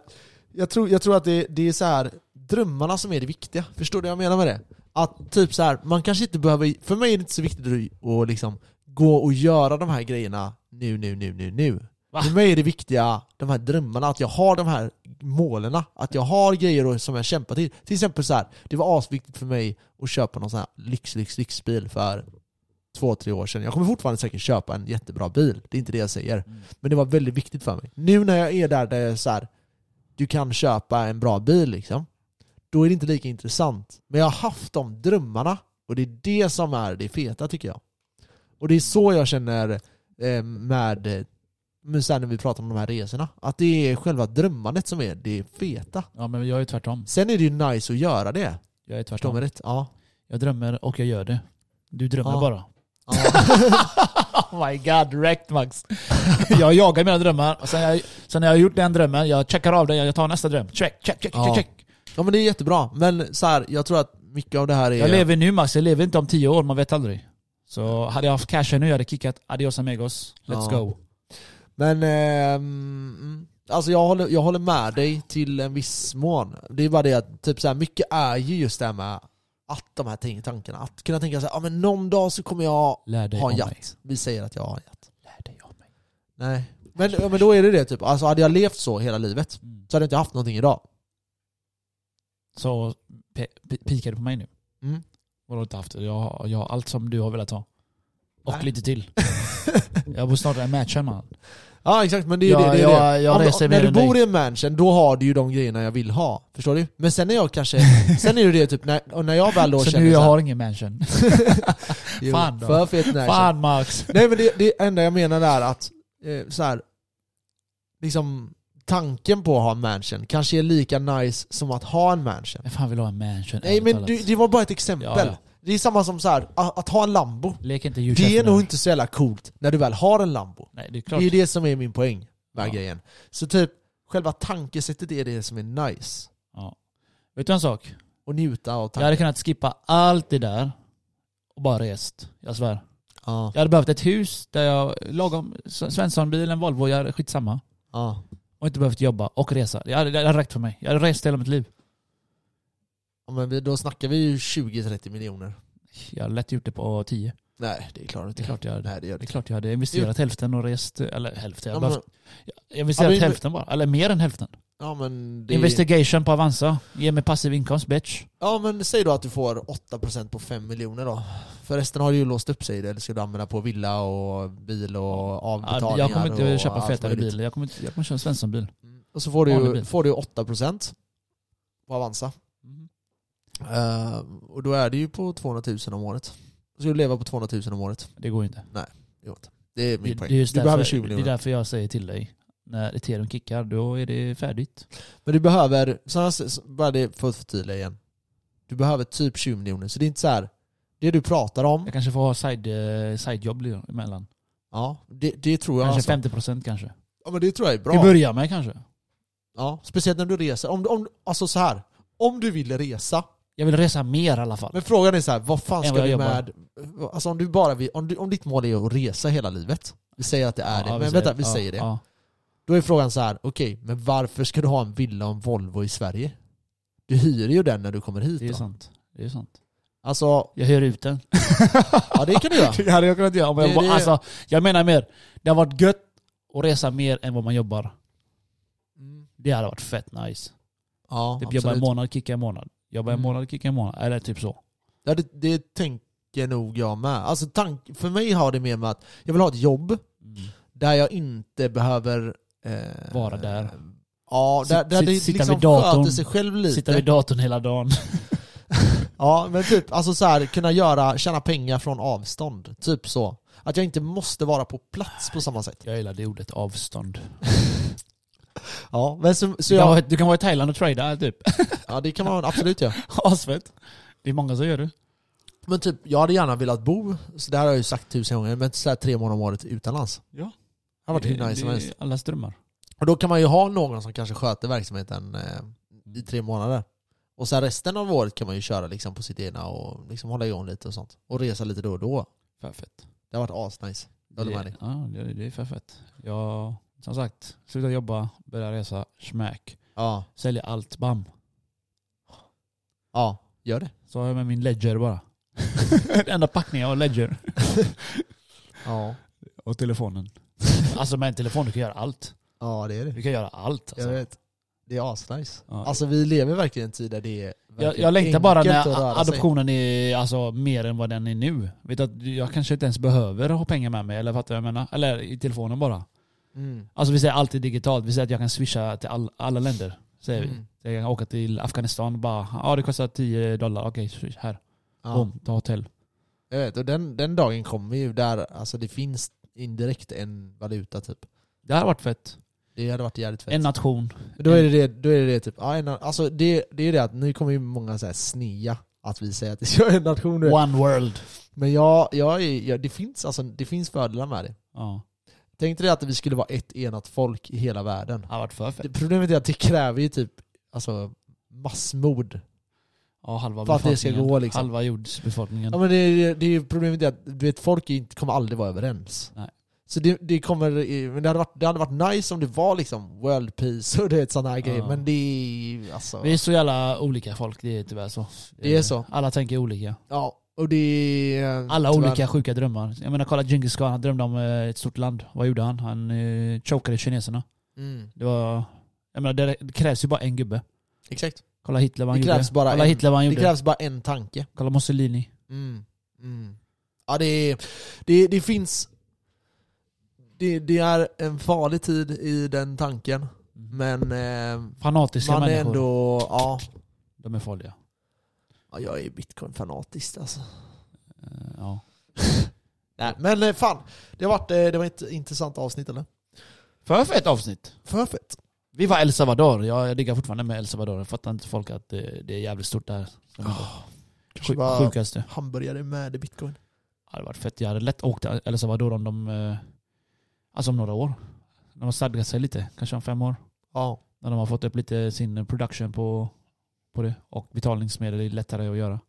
Jag tror, jag tror att det, det är så här drömmarna som är det viktiga. Förstår du vad jag menar med det? Att typ så här, man kanske inte behöver... För mig är det inte så viktigt att- att liksom gå och göra de här grejerna nu, nu, nu, nu, nu.
Va?
För mig är det viktiga de här drömmarna, att jag har de här målen. Att jag har grejer och- som jag kämpar till. Till exempel så här, det var asviktigt för mig att köpa någon sån här lyx, lyx, lyxbil för två, tre år sedan. Jag kommer fortfarande säkert köpa en jättebra bil. Det är inte det jag säger. Men det var väldigt viktigt för mig. Nu när jag är där, där jag är så här, du kan köpa en bra bil liksom. Då är det inte lika intressant. Men jag har haft de drömmarna. Och det är det som är det feta tycker jag. Och det är så jag känner eh, med, eh, men sen när vi pratar om de här resorna. Att det är själva drömmandet som är det feta.
Ja men jag är tvärtom.
Sen är det ju nice att göra det.
Jag är
Förstår
tvärtom.
mig rätt? Ja.
Jag drömmer och jag gör det. Du drömmer
Ja.
bara.
ja.
Oh my god, wrecked Max. jag jagar mina drömmar. Och sen, jag, sen när jag har gjort den drömmen, jag checkar av den, jag tar nästa dröm. Check, check, check,
Ja.
check, check.
ja men det är jättebra. Men så här, jag tror att mycket av det här är...
Jag lever nu Max, jag lever inte om tio år, man vet aldrig. Så hade jag haft cashen nu, jag hade kickat adios amigos, let's
Ja.
go.
Men ehm, mm, alltså jag håller, jag håller med dig till en viss mån. Det är bara det att typ så här, mycket är ju just det här med att de här ting- tankarna. Att kunna tänka sig ah, men någon dag så kommer jag
Lär dig
ha
om
en
mig.
jatt. Vi säger att jag har en jatt.
Lär dig om mig.
Nej. Men, ja, men då är det det typ. Alltså hade jag levt så hela livet
Mm.
så hade jag inte haft någonting idag.
Så pe- pe- pikar du på mig nu?
Mm.
Vad har du inte haft? Jag har, jag har allt som du har velat ha. Och
Nej.
lite till. jag bor snart i en matchen man.
Ja exakt, men det är ju
Ja,
det. det, är
jag-
det.
jag
Om- när
reser mer
du
än
bor
dig.
i en mansion, då har du ju de grejerna jag vill ha. Förstår du? Men sen är jag kanske, sen är det det typ, när, och när jag väl då
Så
känner
nu jag
så här,
har ingen mansion.
jo,
fan då.
För fet mansion.
Fan Max.
Nej men det, det enda jag menar är att eh, så här, liksom tanken på att ha en mansion kanske är lika nice som att ha en mansion.
Vem fan vill ha en mansion?
Nej
ärligt
men
talat?
du, det var bara ett exempel.
Ja, ja.
Det är samma som så här, att, att ha en Lambo.
Lek inte djurchef
Det är
nu.
nog inte så jävla coolt när du väl har en Lambo.
Nej, det är klart.
Det är det som är min poäng med
Ja.
grejen. Så typ, själva tankesättet är det som är nice.
Ja. Vet du en sak?
Och njuta av
Jag hade
tanken.
kunnat skippa allt det där och bara rest. Jag svär.
Ja,
Jag hade behövt ett hus där jag lagom Svenssonbilen, Volvo, jag hade skitsamma.
ja,
Och inte behövt jobba och resa. Det hade, det hade räckt för mig. Jag hade rest hela mitt liv.
ja. Men vi, då snackar vi ju 20-30 miljoner.
Jag hade lätt gjort det på 10.
Nej, det är klart
Det är klart jag hade.
Nej, det gör
Det
det
är klart jag hade investerat hälften och rest, eller hälften, jag
Ja,
hade
men,
behövt, jag
Ja,
investerat
men-
hälften bara. Eller mer än hälften.
ja, men det är...
Investigation på Avanza. Ge mig passiv inkomst bitch.
Ja men säg då att du får 8% på 5 miljoner då. För resten har du ju låst upp sig i det, eller ska du använda på villa och bil och avbetalningar
Ja, Jag kommer inte
och
köpa
allt
fetare
möjligt.
bil. Jag kommer, inte- jag kommer köra en Svenssonbil.
Mm. Och så får du,
Vanlig
ju,
bil.
får du 8% på Avanza. Mhm. Eh, och då är det ju på 200 000 om året. Så ska du leva på 200 000 om året.
Det går inte.
Jo, Det är min
Det,
poäng.
det, är just
du behöver 20
därför, det är
miljoner.
därför jag säger till dig, när Ethereum kickar, då är det färdigt.
Men du behöver, så här, så- bara det för att förtydliga igen. Du behöver typ 20 miljoner. Så det är inte så här. det du pratar om,
Jag kanske får ha side, eh, sidejobb li- emellan.
ja, det, det tror jag
Kanske
alltså.
50% kanske.
Ja men det tror jag är bra.
Till att börja med kanske.
Ja, speciellt när du reser. Om, om, alltså så här, om du vill resa,
Jag vill resa mer i alla fall.
men frågan är så här, vad fan
Än
ska
vad
du
jag
med... Alltså om, du bara vill, om, du, om ditt mål är att resa hela livet, vi säger att det är det,
Ja,
men
vi säger-
vänta, vi
ja,
säger det.
ja.
Då är frågan så här, okej, men varför ska du ha en villa och en Volvo i Sverige? Du hyr ju den när du kommer hit
Det är
då.
sant. Det är sant.
Alltså,
Jag hyr ut den.
ja det kan du göra.
Det hade jag kunnat göra. Om jag,
Det-
bara,
det-
Alltså, jag menar mer, det har varit gött att resa mer än vad man jobbar. Det hade varit fett nice.
Mm. Ja,
Typ jobba en
absolut.
månad, kicka en månad. Jobba en
Mm.
månad, kicka en månad. Eller typ så.
Ja, det, det tänker nog jag med. Alltså, tank, för mig har det mer med att jag vill ha ett jobb där jag inte behöver... eh,
Mm. Vara där.
Ja, där,
Sit-
där
sit-
det
sitta
liksom
vid datorn.
sköter sig själv lite.
Sitta vid datorn hela dagen.
Ja, men typ alltså så här, kunna göra, tjäna pengar från avstånd. Typ så. Att jag inte måste vara på plats på samma sätt.
Jag gillar det ordet avstånd.
Ja, men så, så
Du kan
jag,
vara- Du kan vara i Thailand och trada typ.
ja det kan man absolut göra.
Asfett. Det är många som gör det.
Men typ, jag hade gärna velat bo, så det här har jag ju sagt tusen gånger, men så här tre månader om året utomlands.
Ja.
Det hade varit hur nice som
det är
helst.
Allas drömmar.
Och då kan man ju ha någon som kanske sköter verksamheten eh, i tre månader. Och sen resten av året kan man ju köra liksom på sitt egna och liksom hålla igång lite och sånt. Och resa lite då och då.
Fan fett.
Det har varit asnice. Jag håller med dig.
Det- Ja, det, det är för fett. Jag, som sagt, sluta jobba, börja resa, smack.
Ja,
Sälja allt, bam.
ja, gör det.
Så har jag med min ledger bara. Den enda packningen jag har ledger.
Ja,
Och telefonen. Alltså med en telefon du kan göra allt.
ja det är det.
Du kan göra allt. Alltså.
Jag vet. Det är asnice.
Ja.
Alltså vi lever verkligen i en tid där det är
jag,
verkligen
jag längtar bara
enkelt att
när
röra sig.
adoptionen är alltså, mer än vad den är nu. Vet du, att jag kanske inte ens behöver ha pengar med mig, eller fattar jag vad jag menar? Eller i telefonen bara.
Mm.
Alltså vi säger alltid digitalt, vi säger att jag kan swisha till all, alla länder. Säger vi.
Mm.
Så Jag kan åka till Afghanistan och bara, ja det kostar 10 dollar, okej swish, här.
Ja,
Boom, ta hotell.
jag vet. Och den, den dagen kommer ju där alltså det finns indirekt en valuta typ.
Det här har varit fett.
Det hade varit jävligt fett.
En nation.
Då är det det, då är det, det typ, ja, en, alltså det, det är det att nu kommer ju många så här snea att vi säger att jag är en nation nu.
One world.
Men jag, jag är, jag, det, finns, alltså, det finns fördelar med det.
Ja,
Tänk dig att vi skulle vara ett enat folk i hela världen.
det har varit för fett.
Det, problemet är att det kräver ju typ alltså, massmord.
Ja, halva
För att det ska
befolkningen.
gå, liksom.
Halva jordbefolkningen.
Ja, men det, det, det är ju problemet är att du vet, folk är inte, kommer aldrig vara överens.
Nej.
Så det, det kommer, i- men det hade, varit, det hade varit nice om det var liksom world peace och det är ett sånt här grejer. Men det är alltså...
Vi är så jävla olika folk, det är tyvärr så.
Det är så.
Alla tänker olika.
Ja, och det är... eh,
Alla
tyvärr-
olika sjuka drömmar. Jag menar kolla Djingis Khan, han drömde om eh, ett stort land. Vad gjorde han? Han eh, chokade kineserna.
Mm,
Det var... Jag menar det det krävs ju bara en gubbe.
exakt.
Kolla Hitler vad han
Det
gjorde.
krävs bara
kolla
en.
Hitler vad han
Det
gjorde.
krävs bara en tanke.
Kolla Mussolini.
Mm. Mm. Ja, det, är- det, det finns... Det, det är en farlig tid i den tanken.
Mm.
Men eh,
Fanatiska
man är
människor.
ändå... Ja,
De är farliga.
ja, jag är bitcoin-fanatist alltså.
Eh, ja.
Nej, men eh, fan. Det, har varit, eh, det var ett intressant avsnitt eller?
För fett avsnitt.
För fett.
Vi var El Salvador. Jag, jag diggar fortfarande med El Salvador. Jag fattar inte folk att eh, det, det är jävligt stort där. Oh,
Kanske
Sjuk,
bara-
Sjukaste.
Hamburgare med bitcoin.
Ja, det hade varit fett. Jag hade lätt åkt till El Salvador om de... eh, Alltså om några år. När de har stadgat sig lite. Kanske om fem år.
Ja.
När de har fått upp lite sin production på, på det. Och betalningsmedel är lättare att göra.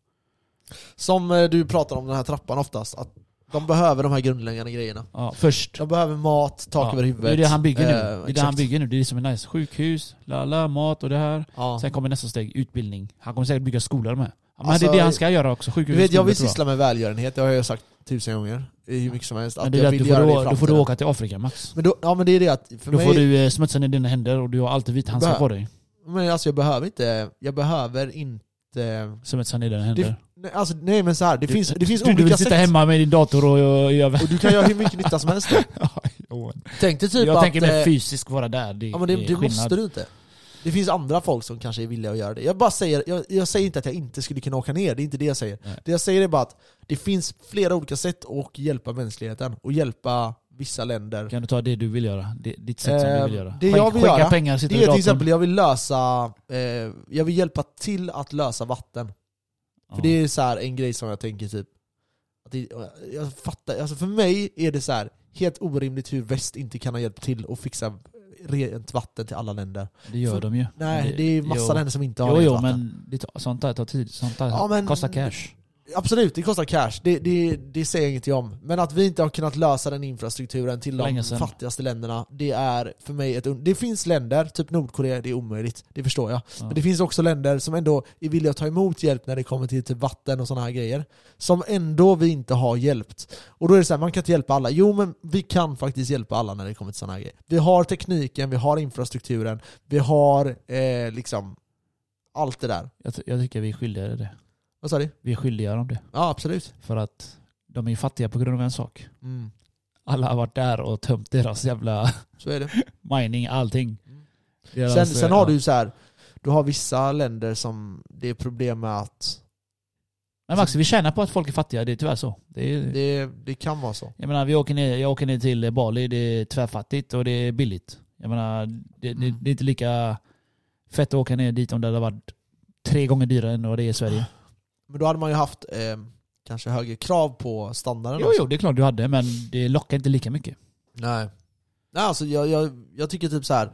Som eh, du pratar om den här trappan oftast. Att de behöver de här grundläggande grejerna.
Ja, först.
De behöver mat, tak
Ja,
över huvudet.
Det är det han bygger nu.
Eh,
det är det
exakt.
han bygger nu. Det är det som är nice. Sjukhus, lala, mat och det här.
Ja.
Sen kommer nästa steg, utbildning. Han kommer säkert bygga skolor med. Men
Alltså,
det är det han ska göra också. Sjukhus
Du vet, jag
skolor,
vill
tror
syssla med välgörenhet, det har jag sagt tusen gånger. Hur mycket som helst. Att
Men det är
jag
det att
vill
du får,
göra det i
då, då får du
framtiden.
åka till Afrika Max.
Men då, ja men det är det att, för
Då
mig,
får du eh, smutsen i dina händer och du har alltid vit handskar
Bä.
på dig.
men alltså jag behöver inte, jag behöver inte
Smutsen i dina händer.
det, nej, alltså, nej men så här, det
Du-
finns, det finns
du, du
olika
vill
sätt.
sitta hemma med din dator och göra... Jag,
Och du kan göra hur mycket nytta som helst. då. Tänk dig typ
jag
att...
tänker mer
eh,
fysiskt vara där. Det,
ja, men det,
är
det
skillnad.
måste du inte. Det finns andra folk som kanske är villiga att göra det. Jag bara säger, jag, jag säger inte att jag inte skulle kunna åka ner, det är inte det jag säger.
Nej.
Det jag säger är bara att det finns flera olika sätt att hjälpa mänskligheten och hjälpa vissa länder
Kan du ta det du vill göra? Det, ditt sätt som
Eh,
du vill göra?
det jag vill
Skänka
göra,
pengar,
Det
sitta
är
vid
till
datorn.
exempel, jag vill lösa, eh, jag vill hjälpa till att lösa vatten.
Ja.
För det är så här en grej som jag tänker typ, att det, jag fattar, alltså för mig är det så här helt orimligt hur väst inte kan ha hjälpt till att fixa rent vatten till alla länder.
Det gör
För-
de ju.
Nej,
Men
det, är massa
jo.
länder som inte har
Jo,
rent
jo
vatten.
men det tar, sånt där tar tid. Sånt där
Ja, men-
kostar cash.
Absolut, det kostar cash. Det, det, det säger jag ingenting om. Men att vi inte har kunnat lösa den infrastrukturen till de
Länge sedan.
fattigaste länderna, det är för mig ett... un- Det finns länder, typ Nordkorea, det är omöjligt. Det förstår jag.
Ja.
Men det finns också länder som ändå är villiga att ta emot hjälp när det kommer till typ vatten och sådana här grejer. Som ändå vi inte har hjälpt. Och då är det så här, man kan inte hjälpa alla. Jo, men vi kan faktiskt hjälpa alla när det kommer till sådana här grejer. Vi har tekniken, vi har infrastrukturen, vi har eh, liksom allt det där.
Jag, ty- jag tycker vi är skyldiga det.
Vad sa du?
Vi är skyldiga dem det.
Ja, absolut.
För att de är ju fattiga på grund av en sak.
Mm.
Alla har varit där och tömt deras jävla
Så är det.
mining, allting.
Mm.
Deras,
Sen, sen har
ja.
du ju så här, du har vissa länder som det är problem med att
Men Max, vi tjänar på att folk är fattiga. Det är tyvärr så. Det är,
det, det kan vara så.
Jag menar, vi åker ner, jag åker ner till Bali, det är tvärfattigt och det är billigt. Jag menar, det, det,
Mm.
det är inte lika fett att åka ner dit om det hade varit tre gånger dyrare än vad det är i Sverige.
Men då hade man ju haft eh, kanske högre krav på standarden
Jo,
också.
jo, det är klart du hade, men det lockar inte lika mycket.
Nej. Nej, alltså jag, jag, jag tycker typ så här.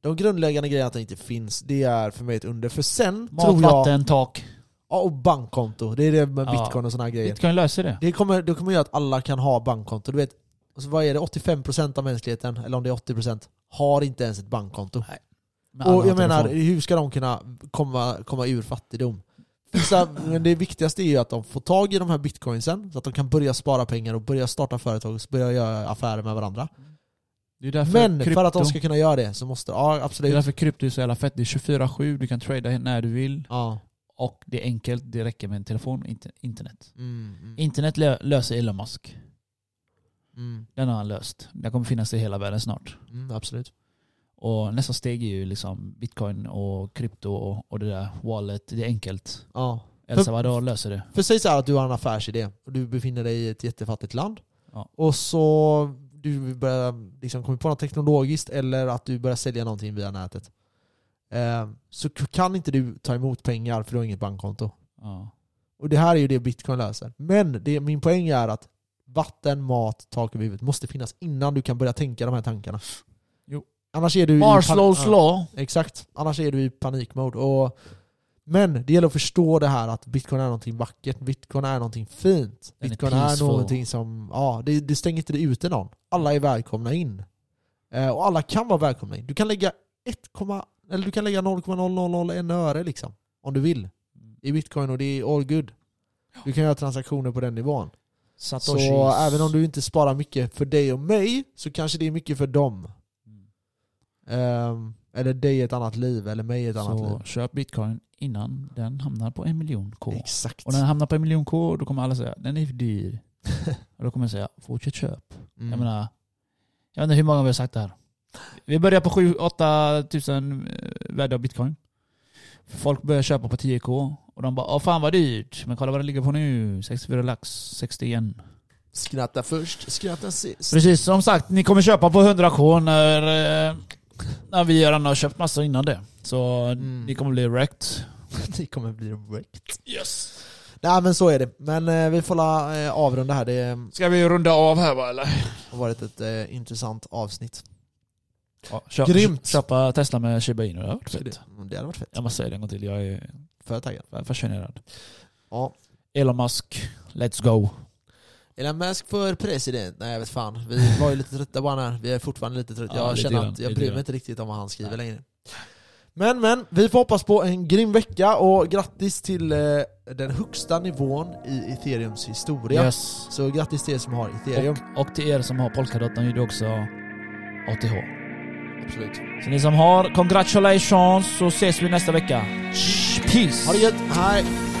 De grundläggande grejerna att det inte finns, det är för mig ett under. För sen
Mat,
tror jag...
vatten, tak.
Ja, och bankkonto. Det är det med
Ja.
bitcoin och sådana grejer.
Vi kan ju lösa det.
Det kommer, det kommer göra att alla kan ha bankkonto. Du vet, alltså vad är det? 85% av mänskligheten, eller om det är 80%, har inte ens ett bankkonto.
Men alla
Och jag
har
menar,
telefon.
hur ska de kunna komma, komma ur fattigdom? Vissa, men det viktigaste är ju att de får tag i de här bitcoinsen, så att de kan börja spara pengar och börja starta företag och börja göra affärer med varandra.
det är därför
Men
krypto,
för att de ska kunna göra det så måste ja
Det är
absolut.
därför krypto är så jävla fett. Det är 24-7, du kan trada när du vill.
Ja.
Och det är enkelt, det räcker med en telefon, inte internet.
Mm, mm,
Internet lö- löser Elon Musk.
mm,
Den har han löst. Den kommer finnas i hela världen snart.
mm, absolut.
Och nästa steg är ju liksom bitcoin och krypto och, och det där wallet. Det är enkelt.
Ja.
El Salvador löser det.
För säg så här att du har en affärsidé och du befinner dig i ett jättefattigt land.
Ja.
Och så du börjar liksom komma på något teknologiskt eller att du börjar sälja någonting via nätet. Eh, så k- kan inte du ta emot pengar för du har inget bankkonto.
Ja.
Och det här är ju det bitcoin löser. Men det, min poäng är att vatten, mat, tak över huvudet måste finnas innan du kan börja tänka de här tankarna.
Jo.
Annars är du i pan-
Marslows
Ja.
law.
Exakt, annars är du i panikmode. Och, men det gäller att förstå det här att bitcoin är någonting vackert, bitcoin är någonting fint.
Den är
Bitcoin är,
peaceful.
någonting som, ja, det, det stänger inte ute någon. Alla är välkomna in. Eh, och alla kan vara välkomna in. Du kan lägga 1, eller du kan lägga 0,0001 öre liksom. Om du vill. I bitcoin och det är all good. Du kan göra transaktioner på den nivån.
Satoshis.
Så även om du inte sparar mycket för dig och mig så kanske det är mycket för dem.
Mm.
Ehm, eller dig i ett annat liv, eller mig i ett annat
Så
liv.
köp bitcoin innan den hamnar på en miljon K.
Exakt.
Och när den hamnar på en miljon K då kommer alla säga den är för dyr. och då kommer jag säga fortsätt köp.
Mm.
Jag menar, jag vet inte hur många vi har sagt det här. Vi börjar på 7-8 tusen eh, värde av bitcoin. Folk börjar köpa på 10k och de bara åh fan vad dyrt, men kolla vad det ligger på nu. 64 lax, 61.
Skratta först, skratta sist.
Precis, som sagt, ni kommer köpa på 100k när, eh, när vi redan har köpt massa innan det. Så
Mm.
ni kommer bli wrecked.
Det kommer bli wrecked.
Yes.
Nej men så är det. Men eh, vi får la, eh, avrunda här. Det eh,
Ska vi runda av här va eller?
har varit ett eh, intressant avsnitt.
Ja, köp,
Grymt.
Köpa Tesla med Shiba Inu, det har varit fett.
Det, det hade varit fett.
Jag måste säga det en gång till, jag är
För taggad.
fascinerad.
Ja.
Elon Musk, let's go.
Elon Musk för president? Nej jag vet fan. Vi var ju lite trötta på han här. Vi är fortfarande lite trötta.
Ja,
jag
lite
känner
grann,
att jag
lite
bryr mig
grann.
inte riktigt om vad han skriver längre. Men men, vi får hoppas på en grym vecka och grattis till eh, den högsta nivån i ethereums historia.
Yes.
Så grattis till er som har ethereum.
Och, och till er som har Polkadot, de gjorde också ATH.
Absolut.
Så ni som har, congratulations så ses vi nästa vecka. Peace!
Ha det gött, hej!